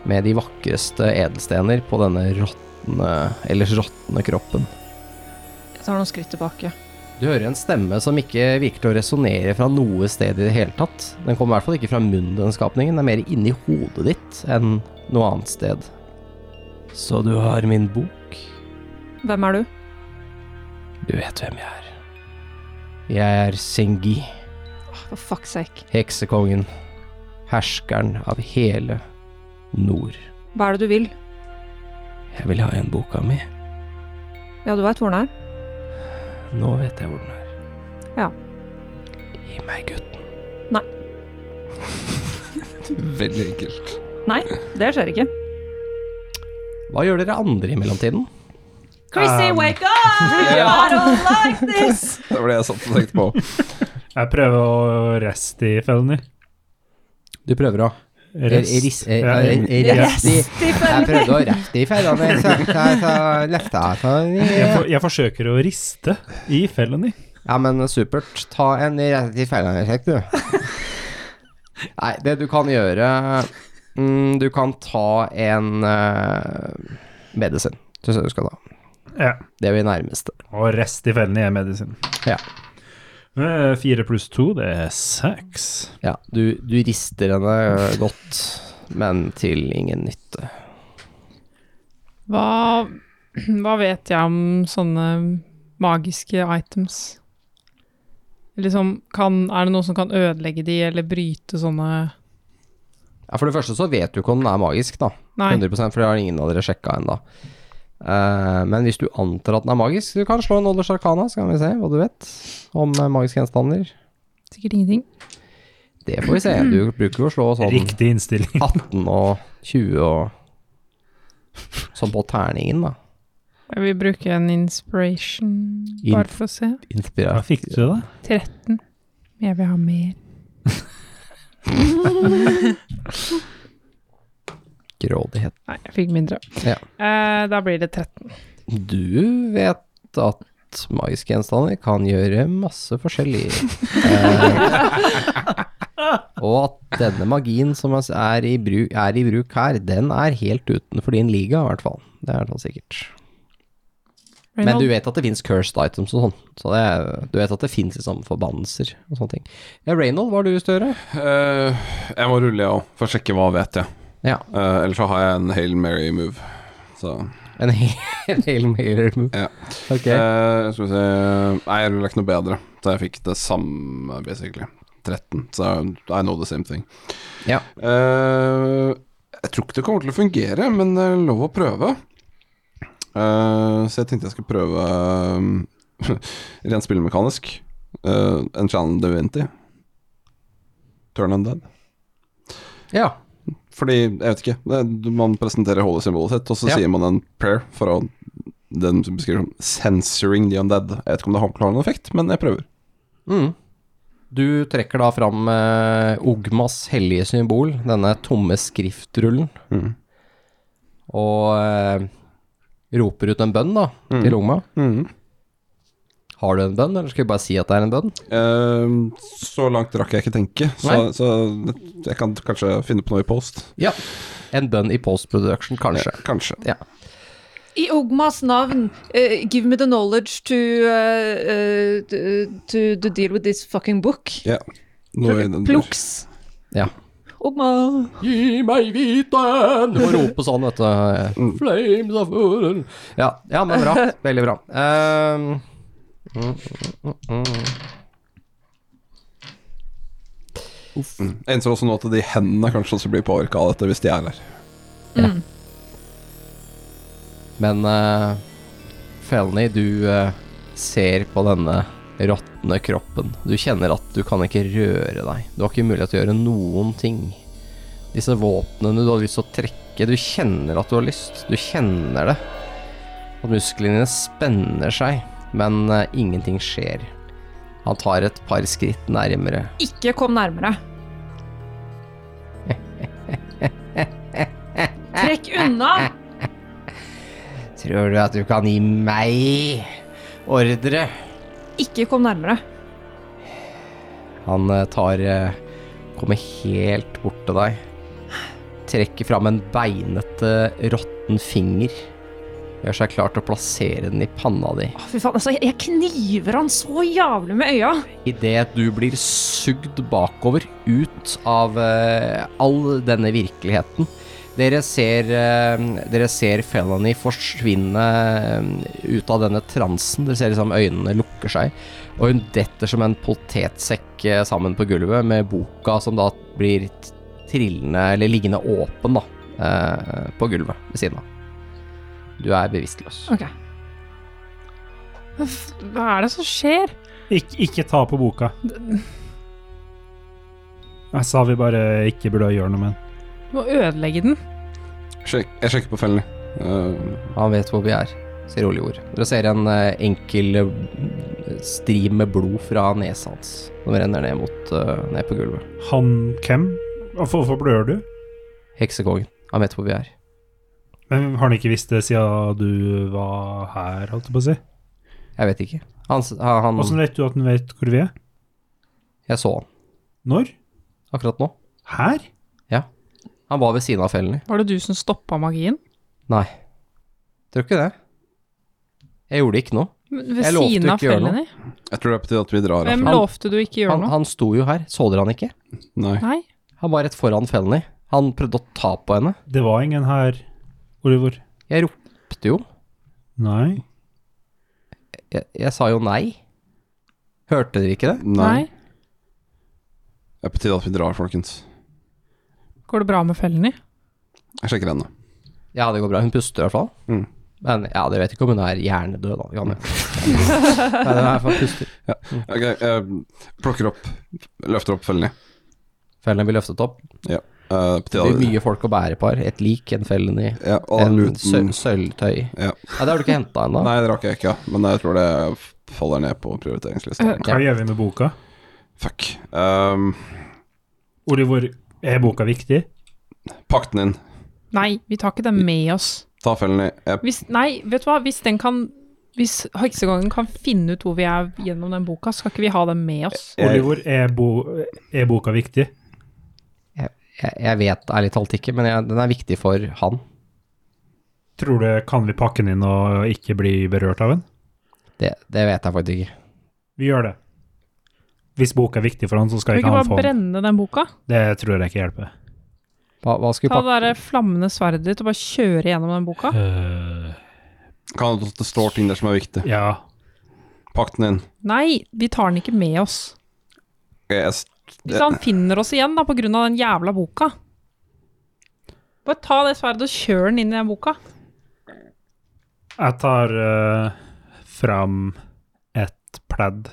med de vakreste edelstener på denne råtne, ellers råtne kroppen.
Jeg tar noen skritt tilbake.
Du hører en stemme som ikke virker til å resonnere fra noe sted i det hele tatt. Den kommer i hvert fall ikke fra munnen, den skapningen. Den er mer inni hodet ditt enn noe annet sted. Så du har min bok?
Hvem er du?
Du vet hvem jeg er. Jeg er Sengi,
For fuck's sake.
heksekongen. Herskeren av hele nord.
Hva er det du vil?
Jeg vil ha igjen boka mi.
Ja, du veit hvor den er?
Nå vet jeg hvor den er.
Ja.
Gi meg gutten.
Veldig enkelt.
Nei, det skjer ikke.
Hva gjør dere andre i mellomtiden?
Chrissy,
Um.
wake up! I don't like this!
Det var det jeg satt og tenkte på.
Jeg prøver å reste i Felny.
Du prøver å Ris- eh,
Ja,
eh, resti- Jeg
Stephen.
prøvde å rette i fellene, så jeg tar løfta
Jeg,
så-
for, jeg forsøker å riste i Felny.
Ja, men supert. Ta en rett i fellene, sjekk, du. Nei, det du kan gjøre mm, Du kan ta en uh, medisin. Syns jeg du skal ta.
Ja.
Det er vi nærmeste.
Og rest i fellene er medisin.
Ja.
Eh, Fire pluss to, det er seks.
Ja, du, du rister henne godt, men til ingen nytte.
Hva, hva vet jeg om sånne magiske items? Liksom, kan, er det noe som kan ødelegge de, eller bryte sånne
Ja, For det første så vet du ikke om den er magisk, da.
Nei.
100 for det har ingen av dere sjekka ennå. Eh, men hvis du antar at den er magisk, du kan slå en Olders Arcana, så kan vi se hva du vet om eh, magiske gjenstander.
Sikkert ingenting.
Det får vi se. Du bruker jo å slå sånn
Riktig innstilling.
18 og 20 og Sånn på terningen, da.
Jeg vil bruke en inspiration,
In-
bare for å se.
Hva
Inspirert.
fikk du, da?
13. Men jeg vil ha mer.
Grådighet.
Nei, jeg fikk mindre.
Ja.
Eh, da blir det 13.
Du vet at magiske gjenstander kan gjøre masse forskjellig. Eh, og at denne magien som er i, bruk, er i bruk her, den er helt utenfor din liga, i hvert fall. Det er sånn sikkert. Men
Reynald,
du vet at det fins cursed items og sånn. Så det, er- du vet at det fins liksom forbannelser og sånne ting. Ja, Reynold, hva har du Støre?
Eh, jeg må rulle, jeg òg, for å sjekke hva vet jeg.
Ja.
Eh, ellers så har jeg en Hail Mary-move. Så
En hel hel mailer move.
Ja.
Ok.
eh, Skal vi se Nei, jeg ruller ikke noe bedre. Så jeg fikk det samme, basically. 13. Så I know the same thing.
Ja.
Eh, jeg tror ikke det kommer til å fungere, men det er lov å prøve. Eh, så jeg tenkte jeg skulle prøve eh, rent spillemekanisk. Uh, en challenge divinity. Turn undead.
ja.
Fordi, jeg vet ikke det, Man presenterer holy symbolet sitt, og så
Ja.
sier man en prayer for å den som beskriver som 'censoring the undead'. Jeg vet ikke om det har har noen effekt, men jeg prøver.
Mm. Du trekker da fram eh, Ogmas hellige symbol, denne tomme skriftrullen,
Mm.
og eh, roper ut en bønn da, til Ogma. Har du en bønn, eller skal vi bare si at det er en bønn?
Eh, så langt rakk jeg ikke tenke,
Nei.
så, så jeg kan kanskje finne på noe i post.
Ja. En bønn i post-production, kanskje.
Kanskje.
I Ogmas navn, eh, give me the knowledge to, eh, eh, to, to deal with this fucking book.
Ja. Noe i den dur.
Pluks.
Ja.
Ogma.
Gi meg viten! Du må rope sånn, vet du. Flames of Uren. Ja, ja, men bra. Veldig bra. Ehm,
Mm. Jeg innser også nå at de hendene kanskje også blir påvirka av dette, hvis de er her.
Men uh, Felny, du eh, ser på denne råtne kroppen. Du kjenner at du kan ikke røre deg. Du har ikke mulighet til å gjøre noen ting. Disse våpnene du har lyst til å trekke, du kjenner at du har lyst. Du kjenner det. At musklene dine spenner seg, men eh, ingenting skjer. Han tar et par skritt nærmere.
Ikke kom nærmere.
Eh.
Trekk unna!
Tror du at du kan gi meg ordre?
Ikke kom nærmere.
Han eh, tar eh, Kommer helt bort til deg. Trekker fram en beinete, eh, råtten finger. Gjør seg klar til å plassere den i panna di.
Å, fy faen, altså, jeg- jeg kniver han så jævlig med øya.
Idet du blir sugd bakover ut av eh, all denne virkeligheten. Dere ser, eh, dere ser Felony forsvinne eh, ut av denne transen. Dere ser liksom øynene lukker seg, og hun detter som en potetsekk eh, sammen på gulvet med boka som da blir t- trillende, eller liggende åpen, da, eh, på gulvet ved siden av. Du er bevisstløs.
Hva er det som skjer?
Ik ikke ta på boka. Jeg sa vi bare ikke burde gjøre noe med den.
Du må ødelegge den.
Sjekk, jeg sjekker på fellene. Eh,
Han vet hvor vi er, sier rolig ord. Dere ser en eh, enkel eh, stri med blod fra nesa hans som renner ned, mot, eh, ned på gulvet.
Han hvem? Hvorfor hvorfor blør du?
Heksekongen. Han vet hvor vi er.
Men Har han ikke visst det siden du var her, holdt jeg på å si?
Jeg vet ikke. Han, s- han,
Åssen
han
vet du at han vet hvor vi er?
Jeg så han
Når?
akkurat nå.
Her?
Han var ved siden av fellene.
Var det du som stoppa magien?
Nei. Tror ikke det. Jeg gjorde ikke noe.
Men Ved
Jeg lovte
siden
å
av
ikke gjøre
fellene?
jeg tror det er på tide at vi drar
Hvem
herfra.
lovte du ikke gjøre
Han,
noe?
han sto jo her. Så dere han ikke?
Nei.
Nei.
Han var rett foran fellene. Han prøvde å ta på henne.
Det var ingen her, Oliver.
Jeg ropte jo.
Nei.
Jeg, jeg sa jo nei. Hørte dere ikke det?
Nei.
Nei.
Det er på tide at vi drar, folkens.
Går det bra med fellene?
Jeg sjekker henne.
Ja, det går bra. Hun puster i hvert fall.
Mm.
Men ja, dere vet ikke om hun er hjernedød, da. Janne. Nei, det er i hvert fall puster.
Ok, jeg Eh, plukker opp, løfter opp fellene.
Fellene blir løftet opp.
Eh, på
Det
tide
blir
at
mye Eh, folk å bære på her. Et lik, en fellen i
ja, og
en
luten-
søl- sølvtøy.
Ja.
Nei, det har du ikke henta ennå.
Nei, det rakk jeg ikke, ja. men jeg tror det faller ned på prioriteringslista.
Eh,
Øh.
Hva gjør vi med boka?
Fuck. Um,
Oliver, er boka viktig?
pakk den inn.
Nei, vi tar ikke den med oss.
Ta fellene. Jeg
Hvis, nei, vet du hva, hvis den kan Hvis heksegangen kan finne ut hvor vi er gjennom den boka, skal ikke vi ha den med oss?
Jeg-
Oliver, er, bo er boka viktig?
Jeg, jeg vet ærlig talt ikke, men jeg, den er viktig for han.
Tror du kan vi pakke den inn og ikke bli berørt av den?
Det, det vet jeg faktisk ikke.
Vi gjør det. Hvis boka er viktig for han, så
Kan
skal
vi
ikke
ikke
han
bare
få den.
brenne den boka?
Det tror jeg ikke hjelper.
Hva, hva skal vi
Ta
pakke?
det derre flammende sverdet ditt og bare kjøre gjennom den boka?
kan at det står ting der som er viktig.
ja.
Pakk den inn.
Nei, vi tar den ikke med oss.
Ok, Jeg, s-
Hvis han finner oss igjen da, på grunn av den jævla boka. Bare ta det sverdet og kjør den inn i den boka.
Jeg tar eh, fram et pledd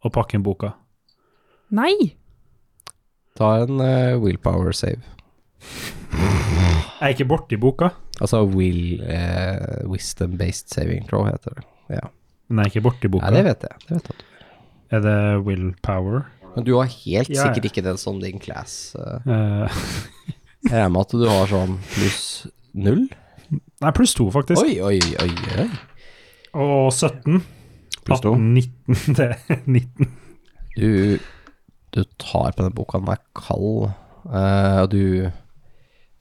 og pakker inn boka.
Nei!
Ta en eh, willpower save.
Jeg er ikke borti boka,
Altså will eh, wisdom-based saving throw, heter det.
men jeg er ikke borti boka.
Nei, det vet jeg. Det vet jeg.
Er det willpower?
Men du har helt
Ja, ja.
sikkert ikke den som din class. eh.
Eh,
Jeg regner med at du har sånn pluss null?
nei, pluss to, faktisk.
Oi, oi, oi, oi.
Og 17.
Pluss to.
18, 19. Det er 19.
Du, du tar på den boka, den er kald, eh, og du,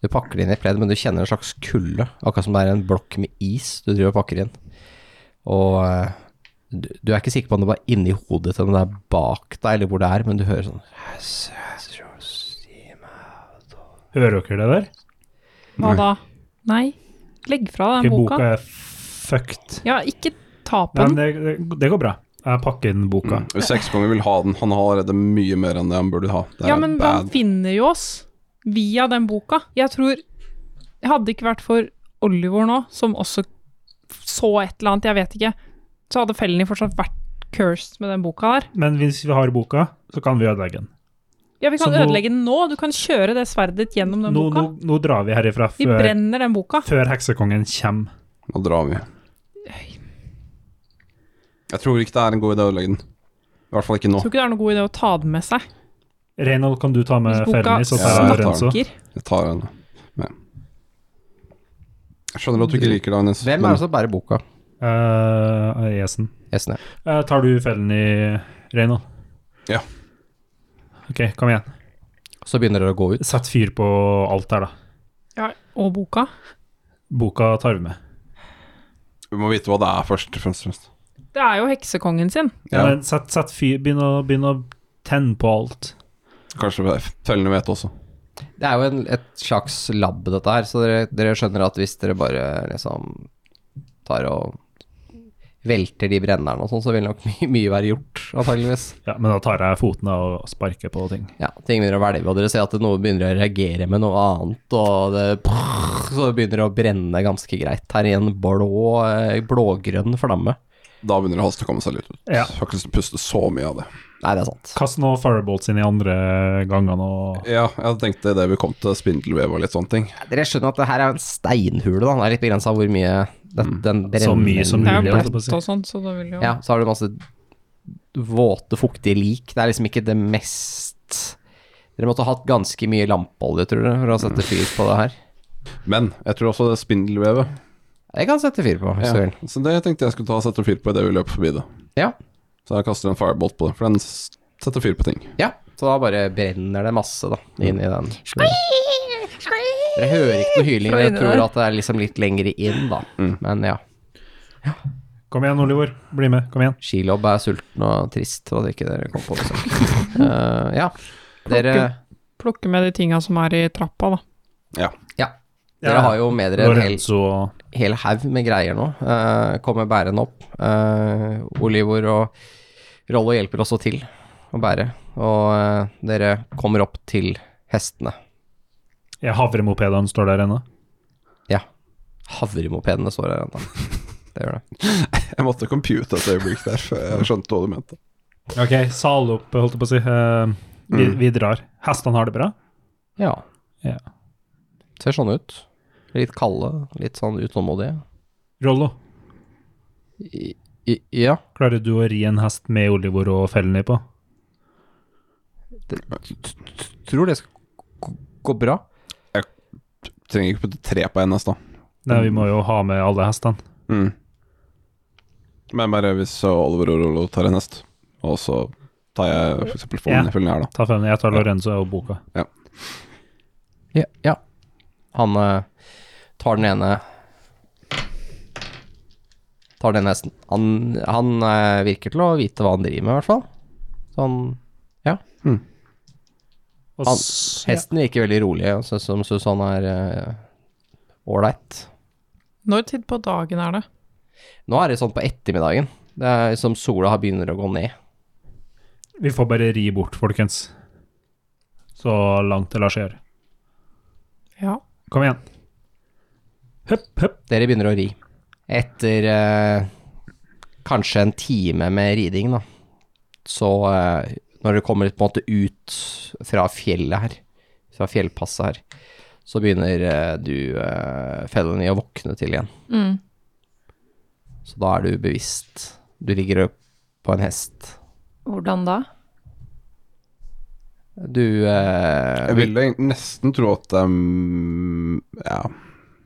du pakker det inn i et pledd, men du kjenner en slags kulde, akkurat som det er en blokk med is du driver og pakker inn. Og eh, du, du er ikke sikker på om det var inni hodet til den der bak deg, eller hvor det er, men du hører sånn
Hører dere det der?
Hva da? Nei. Legg fra deg
Ikke
den
boka
boka.
er fucked.
Ja, ikke ta på
Nei, men
den. Mm.
det, det, det går bra. Jeg pakker inn boka.
Hvis Sekskongen vil ha den. Han har allerede mye mer enn det han burde ha. Det er
Ja, men han
bad.
finner jo oss via den boka. Jeg tror Jeg hadde ikke vært for Oliver nå, som også så et eller annet, jeg vet ikke, så hadde Felny fortsatt vært cursed med den boka der.
Men hvis vi har boka, så kan vi ødelegge den.
Ja, vi kan
Så nå-
ødelegge den nå. Du kan kjøre det sverdet ditt gjennom den
Nå, nå,
boka.
nå drar vi herifra
Vi
før,
brenner den boka.
før heksekongen kommer.
Nå drar vi. Jeg tror ikke det er en god idé å ødelegge den. I hvert fall ikke nå.
Tror ikke det er noen god idé å ta den med seg.
Reynold, kan du ta med
Hvis boka
Felny, så tar
Ja,
jeg
jeg tar
Renzo?
snakker.
Jeg tar den. Jeg skjønner at du ikke liker det, Agnes.
Hvem er det som bærer boka?
Eh, Jesen.
Esne.
Eh, tar du fellen i Reynold?
Ja.
Ok, kom igjen.
Så begynner dere å gå ut.
Sett fyr på alt der, da.
Ja, og boka.
Boka tar vi med.
Vi må vite hva det er først. først, og fremst.
Det er jo heksekongen sin.
Ja.
Men sett, sett fyr, begynn å, begynn å tenne på alt.
Kanskje det er fellene vet også.
Det er jo en, et slags lab, dette her, så dere, dere skjønner at hvis dere bare liksom tar og velter de brennerne og sånn, så vil nok mye, mye være gjort, antageligvis.
Ja, men da tar jeg foten av og sparker på ting.
Ja, ting begynner å hvelve, og dere ser at noe begynner å reagere med noe annet, og det så det begynner å brenne ganske greit her i en blå, eh, blågrønn flamme.
Da begynner det å haste å komme seg litt ut.
Ja.
Jeg har ikke lyst til å puste så mye av det.
Nei, det er sant.
Kast nå firebolts inn i andre gangene og
Ja, jeg tenkte det vi kom til spindelvev og litt sånne ting.
Dere skjønner at det her er en steinhule, da. Det er litt begrensa hvor Mm. mye det, den brenner.
Så mye som
Det er
mulig,
jo
holdt jeg på å
blått
si.
og sånn, så det vil jo
Ja, så har du masse våte, fuktige lik. Det er liksom ikke det mest Dere måtte ha hatt ganske mye lampeolje, tror dere, for å sette fyr på det her.
Men jeg tror også det er spindelvevet.
Jeg kan sette fyr på, hvis du
Ja.
vil.
Så det tenkte jeg skulle ta og sette fyr på idet vi løp forbi det.
Ja.
Så jeg kaster en firebolt på det, for den s- setter fyr på ting.
ja. Så da bare brenner det masse, da, inni den. Dere hører ikke noe hyling, dere tror at det er liksom litt lengre inn, da. Men ja.
Kom igjen, Olivor. Bli med. Kom igjen.
Skilobb er sulten og trist, og det ikke dere kom på besøk. Eh, ja. Dere
plukke med de tinga som er i trappa, da.
Ja. Dere har jo med dere en hel
Lorenzo og
hel haug med greier nå. Eh, kommer bærende opp. Eh, Olivor og Rollo hjelper også til å bære. Og eh, dere kommer opp til hestene.
Ja, Havremopedene står der ennå.
Ja. Havremopedene står her ennå. Det gjør det.
Jeg måtte compute et øyeblikk der, for jeg skjønte hva du mente.
Ok, sal opp, holdt jeg på å si. Eh, vi, vi drar. Hestene har det bra?
Ja.
Ja.
Ser sånn ut. Litt kalde, litt sånn utålmodige.
Rollo,
I- i- Ja.
klarer du å ri en hest med Olivor og Felny på?
Tror det skal gå- gå bra.
Trenger ikke putte tre på NS, da.
Nei, vi må jo ha med alle hestene.
Mm. Men bare hvis eh, Oliver og Rollo tar en hest, og så tar jeg f.eks.
Ja.
fånen i følgen her, da.
Ta Felny, jeg tar Lorenzo og boka.
Ja. ja. Han eh, tar den ene Tar den hesten. Han, han eh, virker til å vite hva han driver med, i hvert fall. Så han
Og
Han-
s- ja.
Hesten virker veldig rolig, og synes som synes han er eh, ålreit.
Når tid på dagen er det?
Nå er det sånn på ettermiddagen, det er som sola har begynner å gå ned.
Vi får bare ri bort, folkens. Så langt det lar seg gjøre.
Ja.
Kom igjen. Høpp, høpp.
Dere begynner å ri. Etter eh, kanskje en time med riding, da. Så eh, når dere kommer på en måte ut fra fjellet her, fra fjellpasset her, så begynner eh, du, eh, Felony, å våkne til igjen.
Mm.
Så da er du bevisst. Du ligger opp på en hest.
Hvordan da?
Du eh,
Jeg ville egentlig nesten tro at um, Ja.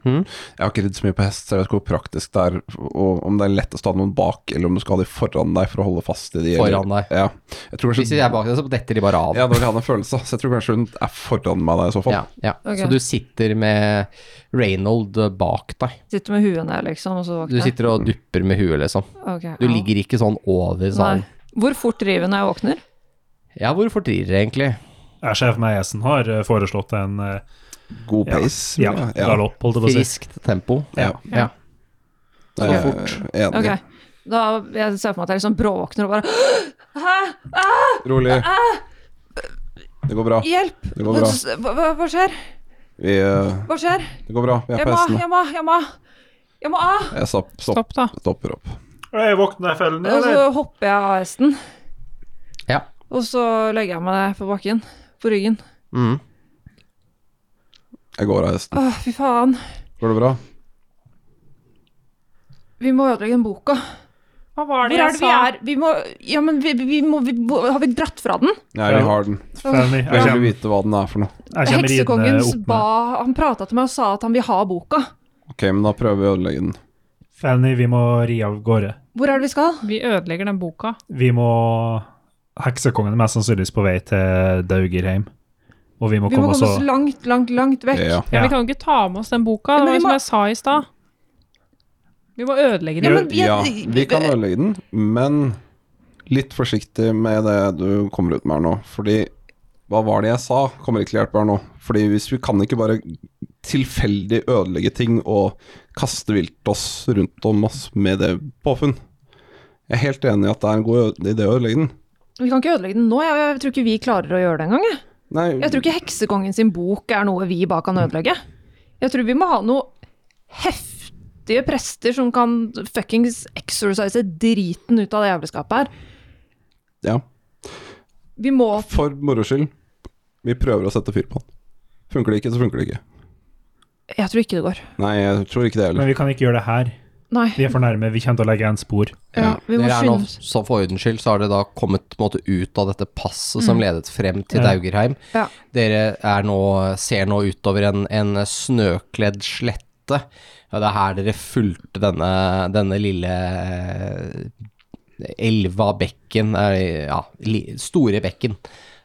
Mhm.
Jeg har ikke ridd så mye på hest, så jeg vet ikke hvor praktisk det er. Og om det er lett å stå noen bak, eller om du skal ha de foran deg for å holde fast i de. eller-
Foran deg.
Ja. Jeg tror
Hvis
kanskje
de er bak deg, så detter de bare av.
Ja, det var det jeg hadde en følelse, så jeg tror kanskje hun er foran meg da, i så fall.
Ja, ja.
Ok.
Så du sitter med Reynold eh, bak deg.
Sitter med huet ned, liksom, og så
Du
våkner jeg?
sitter og dupper med huet, liksom.
Ok,
Du
ja.
ligger ikke sånn over
Nei.
salen.
Hvor fort driver jeg når jeg våkner?
Ja, hvor fort rir dere egentlig?
Jeg ser for meg Esen har eh, foreslått en eh,
God
ja,
pace.
ja,
vil jeg-
galopp, holdt jeg på å si.
Friskt tempo.
Ja.
Ja.
Det er jeg Eh, Enig.
Ok, da jeg ser for meg at jeg liksom bråvåkner og bare Hæ?
Rolig. Det går bra.
Hjelp!
Det går bra.
Hva, hva, hva skjer?
Vi, eh,
Hva skjer?
det går bra. Vi er
Jeg
på
må,
hestene.
jeg må, jeg må. Jeg må av!
Jeg stopp, stopp,
Stopp, da.
stopper opp.
Hei, våkner jeg fellen,
Og så hopper jeg av hesten,
ja.
og så legger jeg meg ned på bakken. På ryggen.
Mm.
Jeg går av hesten.
Åh, fy faen.
Går det bra?
Vi må ødelegge den boka.
Hva var
Hvor
det
er
jeg
det vi
sa?
er? Vi må Ja, men vi, vi må vi, hvor- Har vi dratt fra den?
Nei, vi har den.
Felny, jeg
Jeg vil
kommer,
vite hva den er for noe.
jeg kommer ridende
Heksekongen
opp med
ba Han prata til meg og sa at han vil ha boka.
Ok, men da prøver vi å ødelegge den.
Fanny, vi må ri av gårde.
Hvor er det vi skal?
Vi ødelegger den boka.
Vi må Heksekongen er mest sannsynligvis på vei til Daugerheim. Og vi må
Vi må
komme oss
komme
og
oss langt, langt, langt vekk.
Ja,
Ja.
Ja.
Vi kan jo ikke ta med oss den boka, det
Ja,
var jo
men vi
som
må-
jeg sa i stad. Vi må ødelegge
Ja,
den.
men vi-
ja, vi kan ødelegge den, men litt forsiktig med det du kommer ut med her nå. Fordi hva var det jeg sa? Kommer ikke til å hjelpe her nå. Fordi hvis vi kan ikke bare tilfeldig ødelegge ting og kaste vilt oss rundt om oss med det påfunn. Jeg er helt enig i at det er en god ø- idé å ødelegge den.
Vi kan ikke ødelegge den nå. Jeg, jeg tror ikke vi klarer å gjøre det engang. Jeg.
Nei,
jeg tror ikke Heksekongen sin bok er noe vi bare kan ødelegge. Jeg tror vi må ha noe heftige prester som kan fuckings exorcise driten ut av det jævelskapet her.
Ja,
Vi må
for moro skyld. Vi prøver å sette fyr på den. Funker det ikke, så funker det ikke.
Jeg tror ikke det går.
Nei, jeg tror ikke det heller.
Men vi kan ikke gjøre det her.
Nei.
Vi er for nærme. Vi kommer til å legge igjen spor.
Ja, vi må
Dere er nå,
skynde oss.
så For ordens skyld så har dere da kommet på en måte, ut av dette passet som ledet frem til
Ja.
Daugerheim.
Mm. Ja.
Dere er nå, ser nå utover en, en snøkledd slette. Ja, det er her dere fulgte denne, denne lille eh, elva, bekken, eh, ja, li, store bekken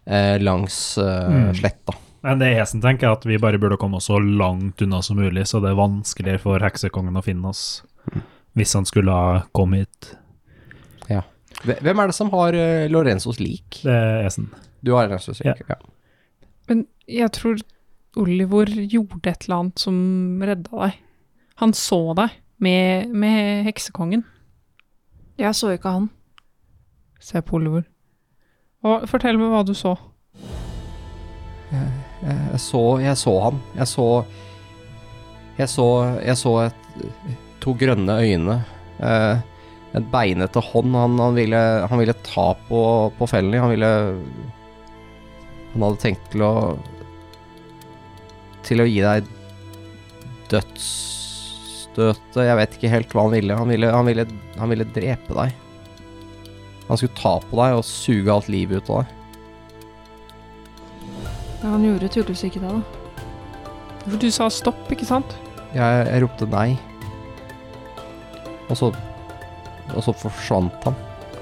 eh, langs eh,
Mm.
sletta.
Men det Esen tenker, er at vi bare burde komme oss så langt unna som mulig, så det er vanskeligere for heksekongen å finne oss. Hvis han skulle ha kommet hit.
Ja. Hve- Hvem er det som har eh, Lorenzos lik?
Det er Esen.
Du har Lorenzos lik,
Ja.
ja.
Men jeg tror Oliver gjorde et eller annet som redda deg. Han så deg med, med heksekongen.
Jeg så ikke han.
Se på Oliver. Og fortell meg hva du så.
Eh, Jeg så, jeg så han. Jeg så Jeg så, jeg så et, to grønne øyne. Eh, en beinete hånd. Han, han, ville, han ville ta på, på Felny. Han ville Han hadde tenkt til å Til å gi deg dødsstøtet. Jeg vet ikke helt hva han ville. Han ville, han ville, han ville drepe deg. Han skulle ta på deg og suge alt livet ut av deg.
Ja, han gjorde tydeligvis ikke det, da.
For du sa stopp, ikke sant?
Jeg, jeg ropte nei. Og så Og så forsvant han.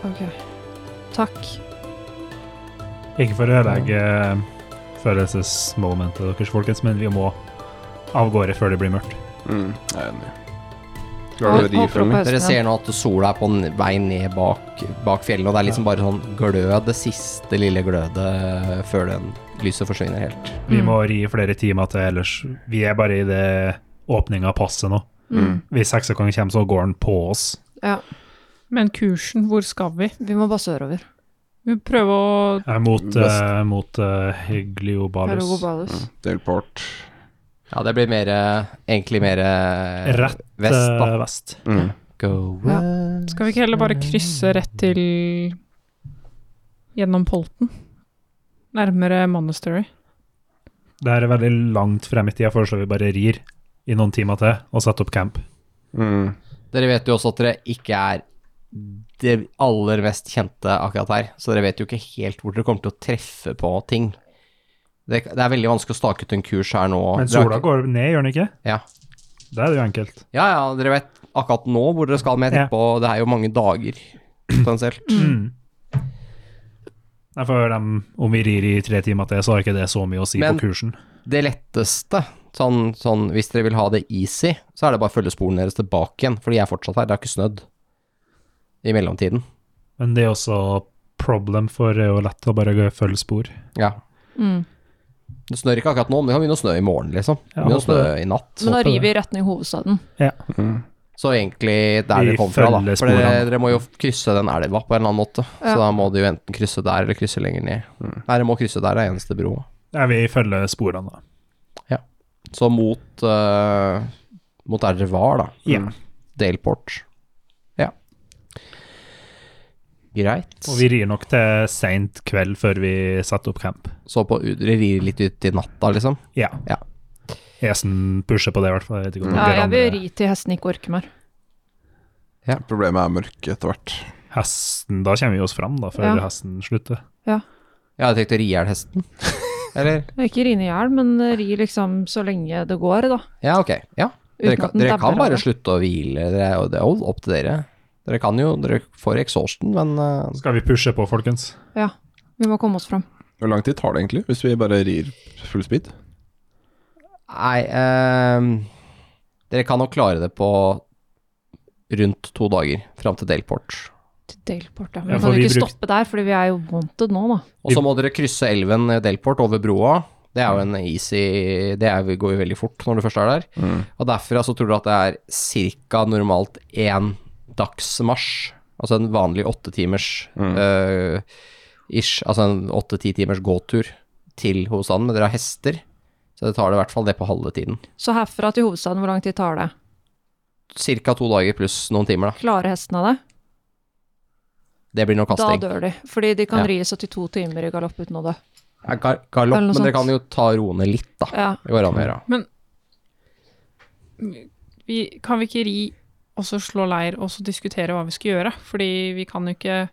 Ok. Takk.
Ikke for å ødelegge eh, følelsesmomentet deres, folkens, men vi må av gårde før det blir mørkt.
Mm, jeg er enig. Ah, Klarer du å ri, Felny?
Dere ser nå at sola er på n- vei ned bak, bak fjellene, og det er liksom bare sånn glød, det siste lille glødet før den lyset forsvinner helt.
Mm.
Vi må ri i flere timer til, ellers Vi er bare i det åpninga av passet nå.
Mm.
Hvis heksekongen kommer, så går han på oss.
Men kursen, hvor skal vi?
Vi må bare sørover.
Vi prøver å
Eh, Mot,
Vest.
eh, mot eh, Hegliobalus.
Ergo
Mm.
Balus.
Delport.
Ja, det blir mer eh, Egentlig mer eh,
Rett
vest, da.
eh, vest.
Mm.
Go
Ja.
west.
Skal vi ikke heller bare krysse rett til gjennom Polten? Nærmere Monastery.
Det her er veldig langt frem i tida, foreslår vi bare rir i noen timer til og setter opp camp.
Mm.
Dere vet jo også at dere ikke er det aller mest kjente akkurat her, så dere vet jo ikke helt hvor dere kommer til å treffe på ting. Det, det er veldig vanskelig å stake ut en kurs her nå.
Men
Dere har
sola
ikke-
går ned, gjør den ikke?
Ja.
Det er jo enkelt.
ja, ja, dere vet akkurat nå hvor dere skal, men jeg tenker på det er jo mange dager potensielt.
Nei, for dem, om vi rir i tre timer til, så har ikke det så mye å si
Men-
på kursen.
Det letteste, sånn, sånn hvis dere vil ha det easy, så er det bare å følge sporene deres tilbake igjen, for de er fortsatt her, det har ikke snødd i mellomtiden.
Men det er også problem, for det er jo lett å bare gå- følge spor.
Ja.
Mm.
Det snør ikke akkurat nå, men det kan begynne å snø i morgen, liksom.
Ja,
Begynne å snø
håper
i natt.
Men da
Håper
rir vi i retning hovedstaden.
Så egentlig der
Vi
dere kom fra, da.
følger
For dere,
sporene.
dere må jo krysse den elva på en eller annen måte. Så da må de jo enten krysse der eller krysse lenger ned.
Mm.
Nei, dere må krysse der, det er eneste bro.
Ja, vi følger sporene, da.
Så mot eh, Mot der dere var, da. Mm.
Ja.
Delport. Ja. Greit.
Og vi rir nok til seint kveld før vi setter opp camp.
Så på Dere rir litt ut i natta, liksom.
Ja.
Ja.
Esen pusher på det, i hvert fall. Jeg vet ikke om
Ja,
det blir
jeg vil
andre-
ri til hesten ikke orker mer.
Problemet er mørke etter hvert.
Hesten, Da kommer vi oss fram, da, før
Ja.
hesten slutter.
Jeg hadde tenkt å ri i hjel hesten. Eller?
Ikke ri ned i hjel, men eh, ri liksom så lenge det går, da.
Ja, ok. Ja. Dere
Uten
kan,
at den
dere kan
dabber av
bare
det.
slutte å hvile, det er, jo- det er jo opp til dere. Dere kan jo, dere får exhausten, men eh,
Skal vi pushe på, folkens?
Vi må komme oss fram.
Hvor lang tid tar det egentlig, hvis vi bare rir full speed?
Nei, ehm, dere kan nok klare det på rundt to dager, fram til Delport.
Til Delport, ja.
Ja,
Men
for
kan vi
vi
ikke
bruk-
stoppe der, fordi vi er jo wanted nå, da.
Og så må dere krysse elven i Delport over broa. Det er jo en easy Det er, går jo veldig fort når du først er der. Og derfra så tror du at det er ca. normalt én dagsmarsj. Altså en vanlig åtte timers eh, ish, altså en åtte-ti timers gåtur til hovedstaden, men dere har hester. Så det tar det i hvert fall det på halve tiden.
Så herfra til hovedstaden, hvor lang tid tar det?
Ca. to dager pluss noen timer, da.
Klarer hestene det?
Det blir noe
Da
kasting.
dør de. Fordi de kan
Ja.
ri 72 timer i galopp uten å dø.
Ja, gar galopp,
Eller noe
men dere
sånt.
kan jo ta roende litt, da.
Ja.
Det går an å gjøre.
Vi, kan vi ikke ri, og så slå leir, og så diskutere hva vi skal gjøre? Fordi vi kan jo ikke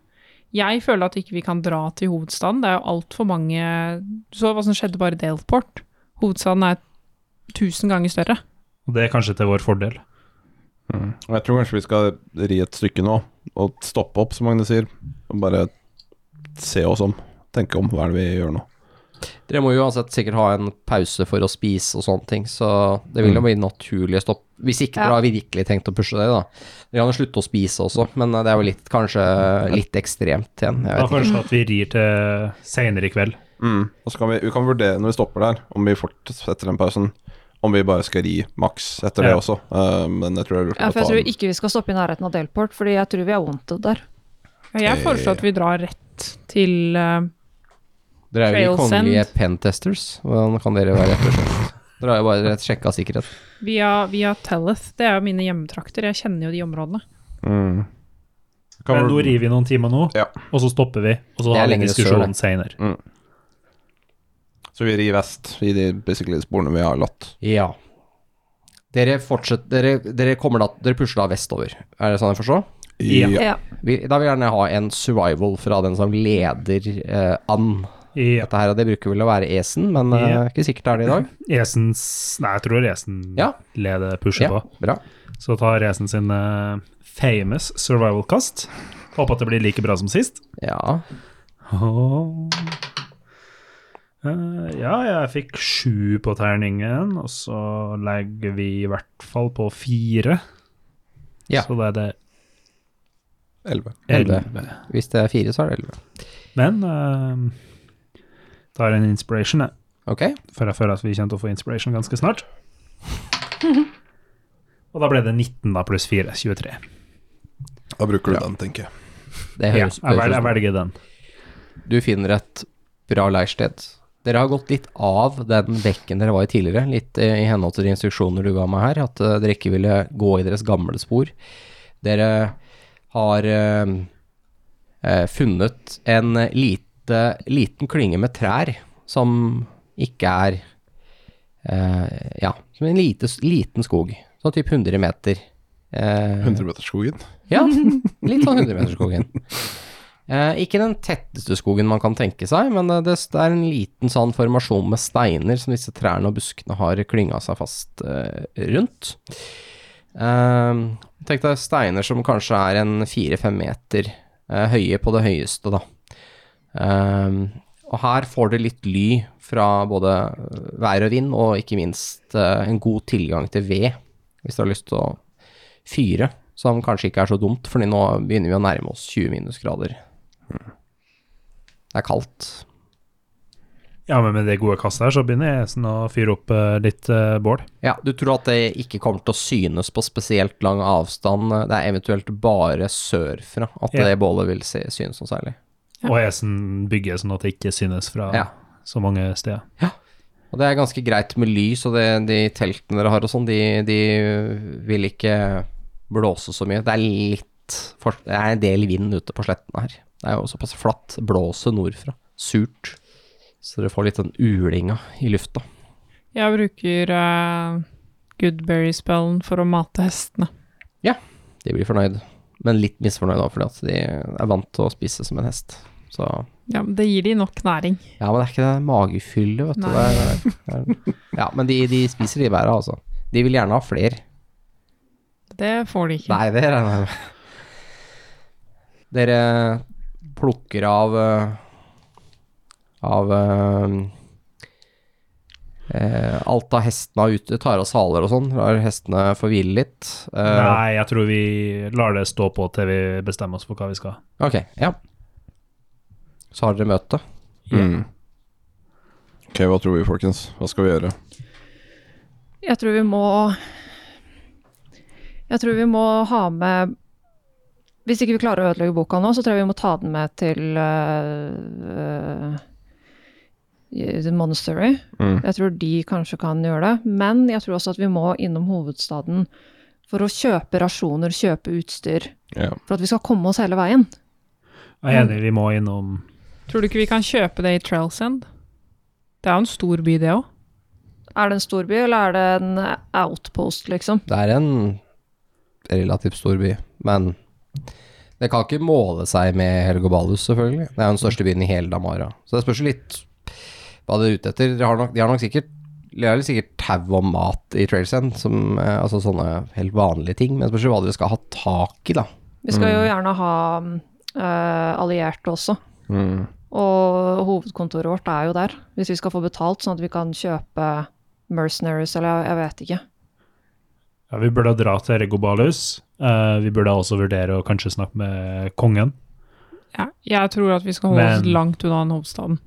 Jeg føler at ikke vi kan dra til hovedstaden. Det er jo altfor mange Du så hva som skjedde bare i Delport. Hovedstaden er tusen ganger større.
Og det er kanskje til vår fordel.
Og Jeg tror kanskje vi skal ri et stykke nå, og stoppe opp, som Magne sier. Og bare se oss om. Tenke om hva er det vi gjør nå.
Dere må jo uansett sikkert ha en pause for å spise og sånne ting, så det vil jo bli naturlig å stoppe. Hvis ikke dere har virkelig tenkt å pushe det, da. Dere kan jo slutte å spise også, men eh, det er jo litt, kanskje litt ekstremt igjen. Jeg
Da
vet ikke.
kanskje at vi rir til seinere i kveld.
Mm.
Og så kan vi, vi kan vurdere når vi stopper der, om vi fortsetter den pausen. Om vi bare skal ri maks etter
Ja.
det også. Eh, men jeg tror det er lurt
ja,
å
for jeg
ta
tror
en
ikke vi skal stoppe i nærheten av Delport, fordi jeg tror vi er wanted der.
Ja, Jeg foreslår at vi drar rett til eh,
Dere er jo de
Trail send.
kongelige pentesters. Hvordan kan dere være ettersøkt? Dere har jo bare rett sjekka sikkerhet.
via, via Telleth. Det er jo mine hjemmetrakter. Jeg kjenner jo de områdene.
mm. Kan
Men nå
vi-
rir vi noen timer nå,
Ja.
og så stopper vi. Og så
Det er
har vi en
lengre sør,
diskusjon seinere.
Så vi rir vest i de basically sporene vi har latt.
Ja. Dere fortsetter Dere, dere, kommer da, dere pusher da vestover. Er det sånn jeg forstår?
Ja.
Ja.
Vi, da vil jeg gjerne ha en survival fra den som leder eh, an.
I
Dette her, det bruker vel å være esen, men eh,
Ja.
ikke sikkert det er det i dag.
Esens Nei, jeg tror Esen
Ja.
leder pushet på.
bra.
Så tar Esen sin eh, famous survival cast. Håper at det blir like bra som sist.
Ja.
Åh. Eh, ja, jeg fikk sju på terningen, og så legger vi i hvert fall på fire.
Ja.
Så da er det
Elleve.
Elleve.
elleve.
Hvis det er fire, så er det elleve.
Men uh, tar en inspiration, jeg.
Ok.
For jeg føler at vi kommer til å få inspiration ganske snart. Og da ble det 19 da, pluss 4, 23.
Da bruker du den, tenker jeg.
Det
Ja, jeg,
høres
vel, jeg
høres ut
velger den.
som- Du finner et bra leirsted. Dere har gått litt av den bekken dere var i tidligere, litt eh, i henhold til de instruksjoner du ga meg her, at eh, dere ikke ville gå i deres gamle spor. Dere har eh, eh, funnet en lite, liten klynge med trær som ikke er eh, Ja, som en lite, liten skog. Sånn type 100 meter. Eh,
100-meterskogen.
ja, litt sånn 100-meterskogen. Eh, ikke den tetteste skogen man kan tenke seg, men eh, det, det er en liten sånn formasjon med steiner som disse trærne og buskene har klynga seg fast eh, rundt. Eh, tenk deg steiner som kanskje er en fire-fem meter eh, høye på det høyeste, da. Eh, og her får det litt ly fra både eh, vær og vind, og ikke minst eh, en god tilgang til ved, hvis du har lyst til å fyre, som kanskje ikke er så dumt, fordi nå begynner vi å nærme oss 20 minusgrader. Det er kaldt.
Ja, men med det gode kastet her, så begynner Esen å fyre opp eh, litt eh, bål.
Ja, du tror at det ikke kommer til å synes på spesielt lang avstand. eh, Det er eventuelt bare sørfra at
Ja.
det bålet vil se, synes noe særlig.
Og Esen bygger sånn at det ikke synes fra
Ja.
så mange steder.
Og det er ganske greit med lys, og det, de teltene dere har og sånn, de, de vil ikke blåse så mye. Det er litt for, Det er en del vind ute på slettene her. Det er jo såpass flatt. Blåser nordfra. Surt. Så dere får litt den ulinga i lufta.
Jeg bruker eh, Goodberry-spellen for å mate hestene.
De blir fornøyd, men litt misfornøyd da, fordi at de er vant til å spise som en hest. Så
Ja, men Det gir de nok næring.
Ja, men det er ikke det magefyllet, vet du.
Nei.
Det er, det er, ja, men de, de spiser de bæra, altså. De vil gjerne ha flere.
Det får de ikke.
Nei, det regner jeg med. Dere plukker av eh, Av eh, eh, Alt av hestene er ute, tar av saler og sånn, lar hestene få hvile litt. Eh,
Nei, jeg tror vi lar det stå på til vi bestemmer oss for hva vi skal.
Ok, ja. Så har dere møte.
Mm. Ok, hva tror vi, folkens? Hva skal vi gjøre?
Jeg tror vi må Jeg tror vi må ha med Hvis ikke vi klarer å ødelegge boka nå, så tror jeg vi må ta den med til øh, øh, The Monastery.
Mm.
Jeg tror de kanskje kan gjøre det. Men jeg tror også at vi må innom hovedstaden for å kjøpe rasjoner, kjøpe utstyr.
Ja.
For at vi skal komme oss hele veien.
Jeg er enig, vi må innom
Tror du ikke vi kan kjøpe det i Trailsend? Det er jo en stor by, det òg.
Er det en storby, eller er det en outpost, liksom?
Det er en relativt stor by, men det kan ikke måle seg med Helgobalus, selvfølgelig. Det er jo den største byen i hele Damara. Så det spørs jo litt hva dere er ute etter. Dere har nok, de har nok sikkert de har vel sikkert tau og mat i Trailsend, som, eh, altså sånne helt vanlige ting. Men det spørs jo hva dere skal ha tak i, da.
Vi skal jo gjerne ha øh, allierte også.
Mm.
Og hovedkontoret vårt er jo der, hvis vi skal få betalt, sånn at vi kan kjøpe mercenaries, eller jeg vet ikke.
Ja, Vi burde dra til Regobalus. Eh, vi burde også vurdere å kanskje snakke med kongen.
Ja, jeg tror at vi skal holde oss
Men-
langt unna den hovedstaden.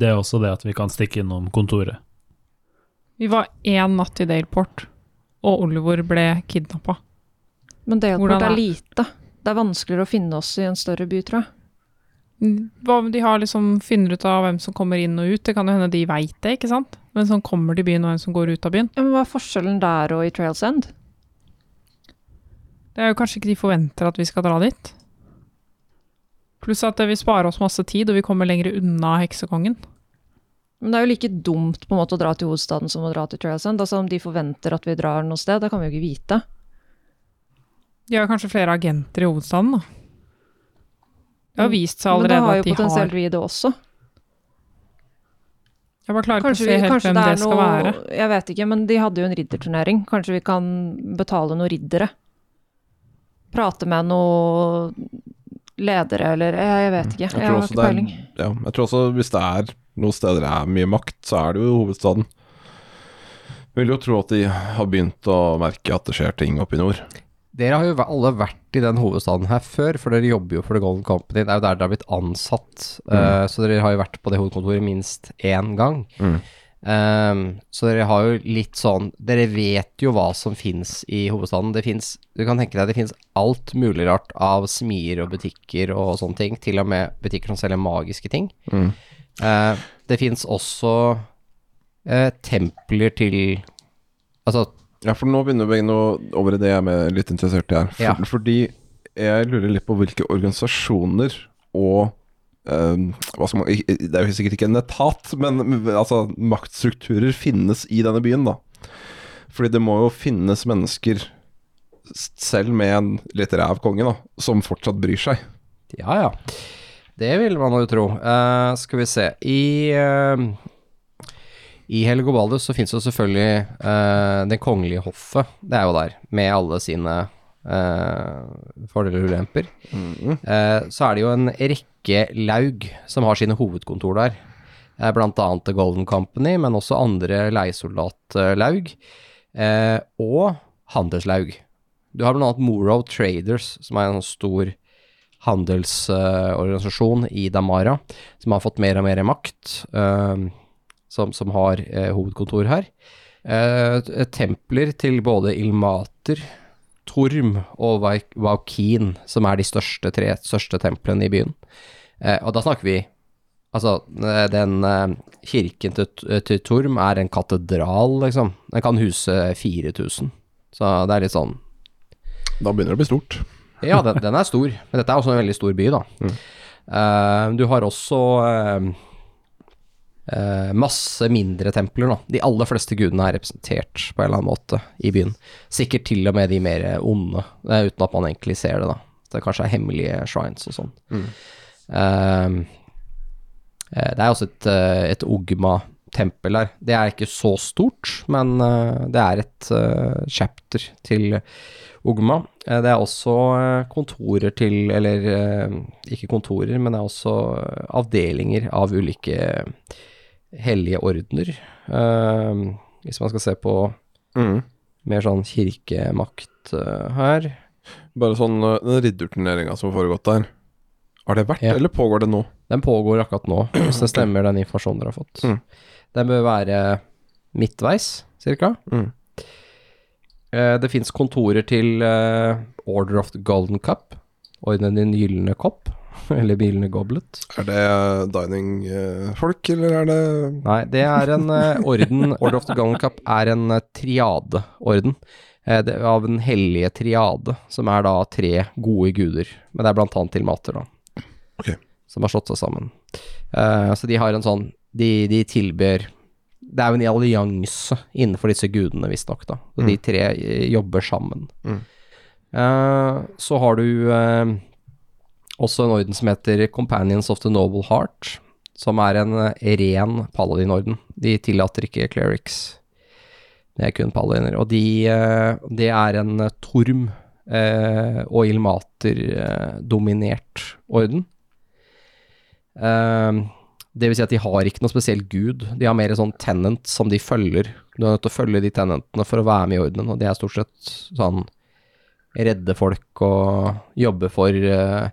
Det er også det at vi kan stikke innom kontoret.
Vi var én natt i Daleport, og Oliver ble kidnappa. Hvordan
Men Daleport
er-
er lite. Det er vanskeligere å finne oss i en større by, tror jeg.
Hva om de har liksom finner ut av hvem som kommer inn og ut? Det kan jo hende de veit det, ikke sant? Men sånn kommer til byen og hvem som går ut av byen.
Ja, men hva er forskjellen der og i Trails End?
Det er jo kanskje ikke de forventer at vi skal dra dit. Pluss at det vil spare oss masse tid, og vi kommer lenger unna heksekongen.
Men det er jo like dumt på en måte å dra til hovedstaden som å dra til Trails End. Altså om de forventer at vi drar noe sted, det kan vi jo ikke vite.
De har kanskje flere agenter i hovedstaden, da. Det har vist seg
Mm. Men da
allerede
har
at
jo
de
potensielt
har
vi det også.
Jeg bare klarer ikke å
Kanskje,
se
vi,
helt
kanskje
hvem
det
det,
er
skal
noe
være.
Jeg vet ikke, men de hadde jo en ridderturnering. Kanskje vi kan betale noen riddere? Prate med noen ledere, eller Jeg, jeg vet ikke. Jeg,
tror
har
også
ikke
det er-
peiling.
ja. Jeg tror også hvis det er noen steder det er mye makt, så er det jo hovedstaden. Jeg vil jo tro at de har begynt å merke at det skjer ting oppe i nord.
Dere har jo væ- alle vært i den hovedstaden her før, for dere jobber jo for The Golden Company. Det er jo der dere har blitt ansatt, eh, så dere har jo vært på det hovedkontoret minst én gang.
Mm.
Ehm, så dere har jo litt sånn Dere vet jo hva som fins i hovedstaden. Det fins Du kan tenke deg det fins alt mulig rart av smier og butikker og sånne ting. Til og med butikker som selger magiske ting.
Mm.
Eh, det fins også eh, templer til Altså
Ja, for nå begynner vi nå over i det jeg er litt interessert i her. For,
Ja.
Fordi jeg lurer litt på hvilke organisasjoner og ehm, hva skal man, i- i- Det er jo sikkert ikke en etat, men men, altså, maktstrukturer finnes i denne byen, da. Fordi det må jo finnes mennesker, s- selv med en litt ræv konge, da, som fortsatt bryr seg.
Ja, ja. Det vil man jo tro. Eh, skal vi se. I, uh, i Helgobaldus så fins jo selvfølgelig eh, det kongelige hoffet. Det er jo der, med alle sine eh, fordeler og ulemper. Eh, så er det jo en rekke laug som har sine hovedkontor der. Eh, blant annet The Golden Company, men også andre leiesoldatlaug. Eh, og handelslaug. Du har blant annet Morrow Traders, som er en sånn stor handelsorganisasjon i Damara, som har fått mer og mer makt, eh, som, som har eh, hovedkontor her. Eh, t- eh, templer til både Ilmater, Torm og Vaik- Waukin, som er de største tre største templene i byen. Eh, og da snakker vi Altså, eh, den eh, kirken til, til Torm er en katedral, liksom. Den kan huse 4000. Så det er litt sånn
Da begynner det å bli stort.
ja, den, den er stor. Men dette er også en veldig stor by, da. Eh, du har også eh, eh, masse mindre templer, da. De aller fleste gudene er representert på en eller annen måte i byen. Sikkert til og med de mer onde, eh, uten at man egentlig ser det, da. Det kanskje er hemmelige shrines og sånn. Eh, eh, det er også et, eh, et ogma tempel der. Det er ikke så stort, men eh, det er et eh, chapter til Ogma. Eh, det er også eh, kontorer til, eller eh, ikke kontorer, men det er også eh, avdelinger av ulike eh, hellige ordener. Eh, hvis man skal se på
Mm.
mer sånn kirkemakt eh, her.
Bare sånn eh, den ridderturneringa som har foregått der. Har det vært,
Ja.
eller pågår det nå?
Den pågår akkurat nå, hvis det stemmer den informasjonen dere har fått.
Mm.
Den bør være midtveis, cirka.
Mm.
Eh, Det fins kontorer til eh, Order of the Golden Cup, Ordenen i den gylne kopp, eller Bilene Goblet.
Er det dining-folk, eller er det
Nei, det er en eh, orden Order of the Golden Cup er en eh, triadeorden. eh, det- Av den hellige triade, som er da tre gode guder. Men det er blant annet til mater, da.
Ok.
Som har slått seg sammen. Eh, så de har en sånn De, de tilber Det er jo en allianse innenfor disse gudene, visstnok, da. Og de tre eh, jobber sammen.
Mm.
Eh, så har du eh, også en orden som heter Companions of the Noble Heart som er en eh, ren paladinorden. De tillater ikke clerics. Det er kun paladiner. Og de, eh, det er en eh, torm eh, og ilmater-dominert orden. Eh, det vil si at de har ikke noe spesiell gud. De har mer sånn tenant som de følger. Du er nødt til å følge de tenantene for å være med i ordenen, og det er stort sett sånn redde folk og jobbe for eh,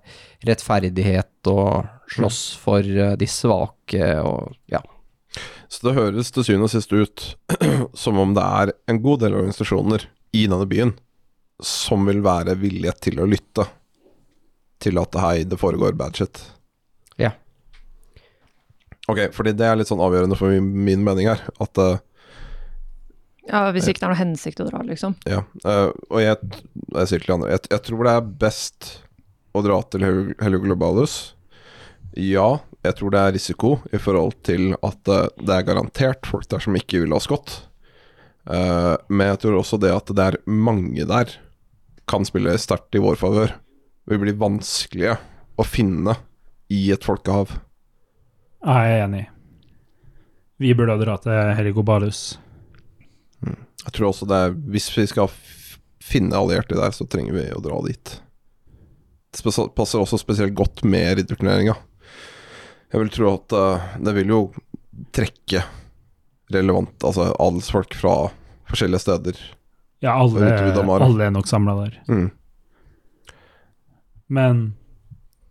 rettferdighet og slåss for eh, de svake og ja.
Så det høres til syvende og sist ut som om det er en god del organisasjoner i denne byen som vil være villige til å lytte til at hei, det foregår bad shit.
Ja.
Ok, fordi det er litt sånn avgjørende for min, min mening her. At eh,
Ja, Hvis ikke det er noe hensikt å dra, liksom.
Ja, eh, og jeg, jeg sier til de andre jeg, jeg tror det er best å dra til Hel- Helio Globalus. Ja, jeg tror det er risiko i forhold til at eh, det er garantert folk der som ikke ville oss godt. Eh, men jeg tror også det at det er mange der, kan spille sterkt i vår favør. Vi blir vanskelige å finne i et folkehav.
Ja, jeg er enig. Vi burde dra til Heligo Balus.
Jeg tror også det er Hvis vi skal f- finne allierte der, så trenger vi å dra dit. Det spes- passer også spesielt godt med ridderturneringa. Jeg vil tro at eh, det vil jo trekke relevant Altså adelsfolk fra forskjellige steder.
Ja,
For
alle,
utvida Mara.
alle er nok samla der.
Mm.
Men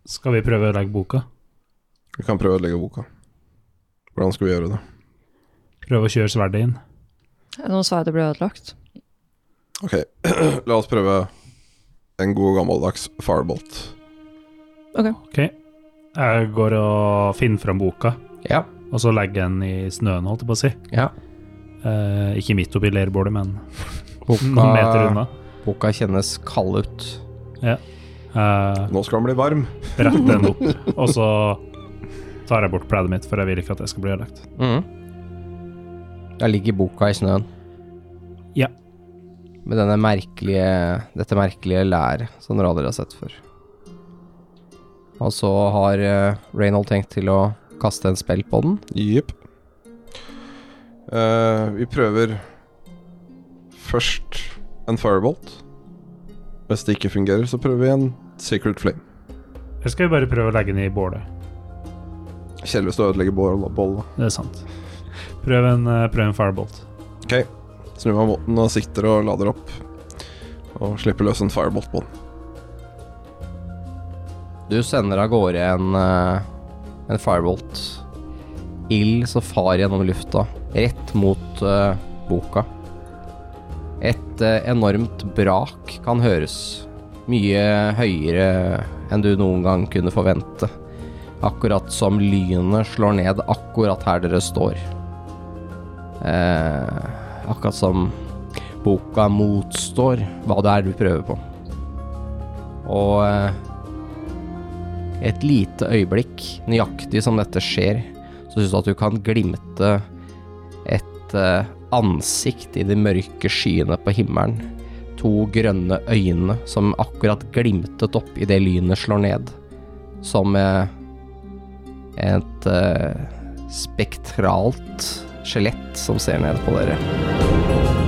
skal vi prøve å legge boka?
Vi kan prøve å ødelegge boka. Hvordan skal vi gjøre det?
Prøve å kjøre sverdet inn?
Noen sverder ble ødelagt.
Ok, la oss prøve en god gammeldags firebolt.
Ok. Jeg går og finner fram boka,
Ja.
og så legger jeg den i snøen, holdt jeg på å si.
ja.
Eh, ikke midt oppi leirbålet, men noen meter
Boka,
unna.
boka kjennes kald ut.
Eh,
Nå skal den bli varm.
Brett den opp, og så tar jeg bort pleddet mitt, for jeg vil ikke at det skal bli ødelagt.
Mhm. Der ligger boka i snøen.
Ja.
Med denne merkelige, dette merkelige læret som dere aldri har sett før. Og så har eh, Reynold tenkt til å kaste en spill på den.
Jepp. Eh, vi prøver først en firebolt. Hvis det ikke fungerer, så prøver vi en secret flame.
Eller skal vi bare prøve å legge den i bålet?
Kjedelig hvis du ødelegger bål- bollen. da.
Det er sant. Prøv en, eh, prøv en firebolt.
Snur meg mot den og sikter og lader opp. Og slipper løs en firebolt på den.
Du sender av gårde en, eh, en firebolt. Ild som far gjennom lufta, rett mot eh, boka. Et eh, enormt brak kan høres. Mye høyere enn du noen gang kunne forvente. Akkurat som lynet slår ned akkurat her dere står. Eh, akkurat som boka motstår hva det er du prøver på. Og eh, et lite øyeblikk, nøyaktig som dette skjer, så syns du at du kan glimte et eh, ansikt i de mørke skyene på himmelen. To grønne øyne som akkurat glimtet opp idet lynet slår ned. Som eh, et eh, spektralt skjelett som ser ned på dere.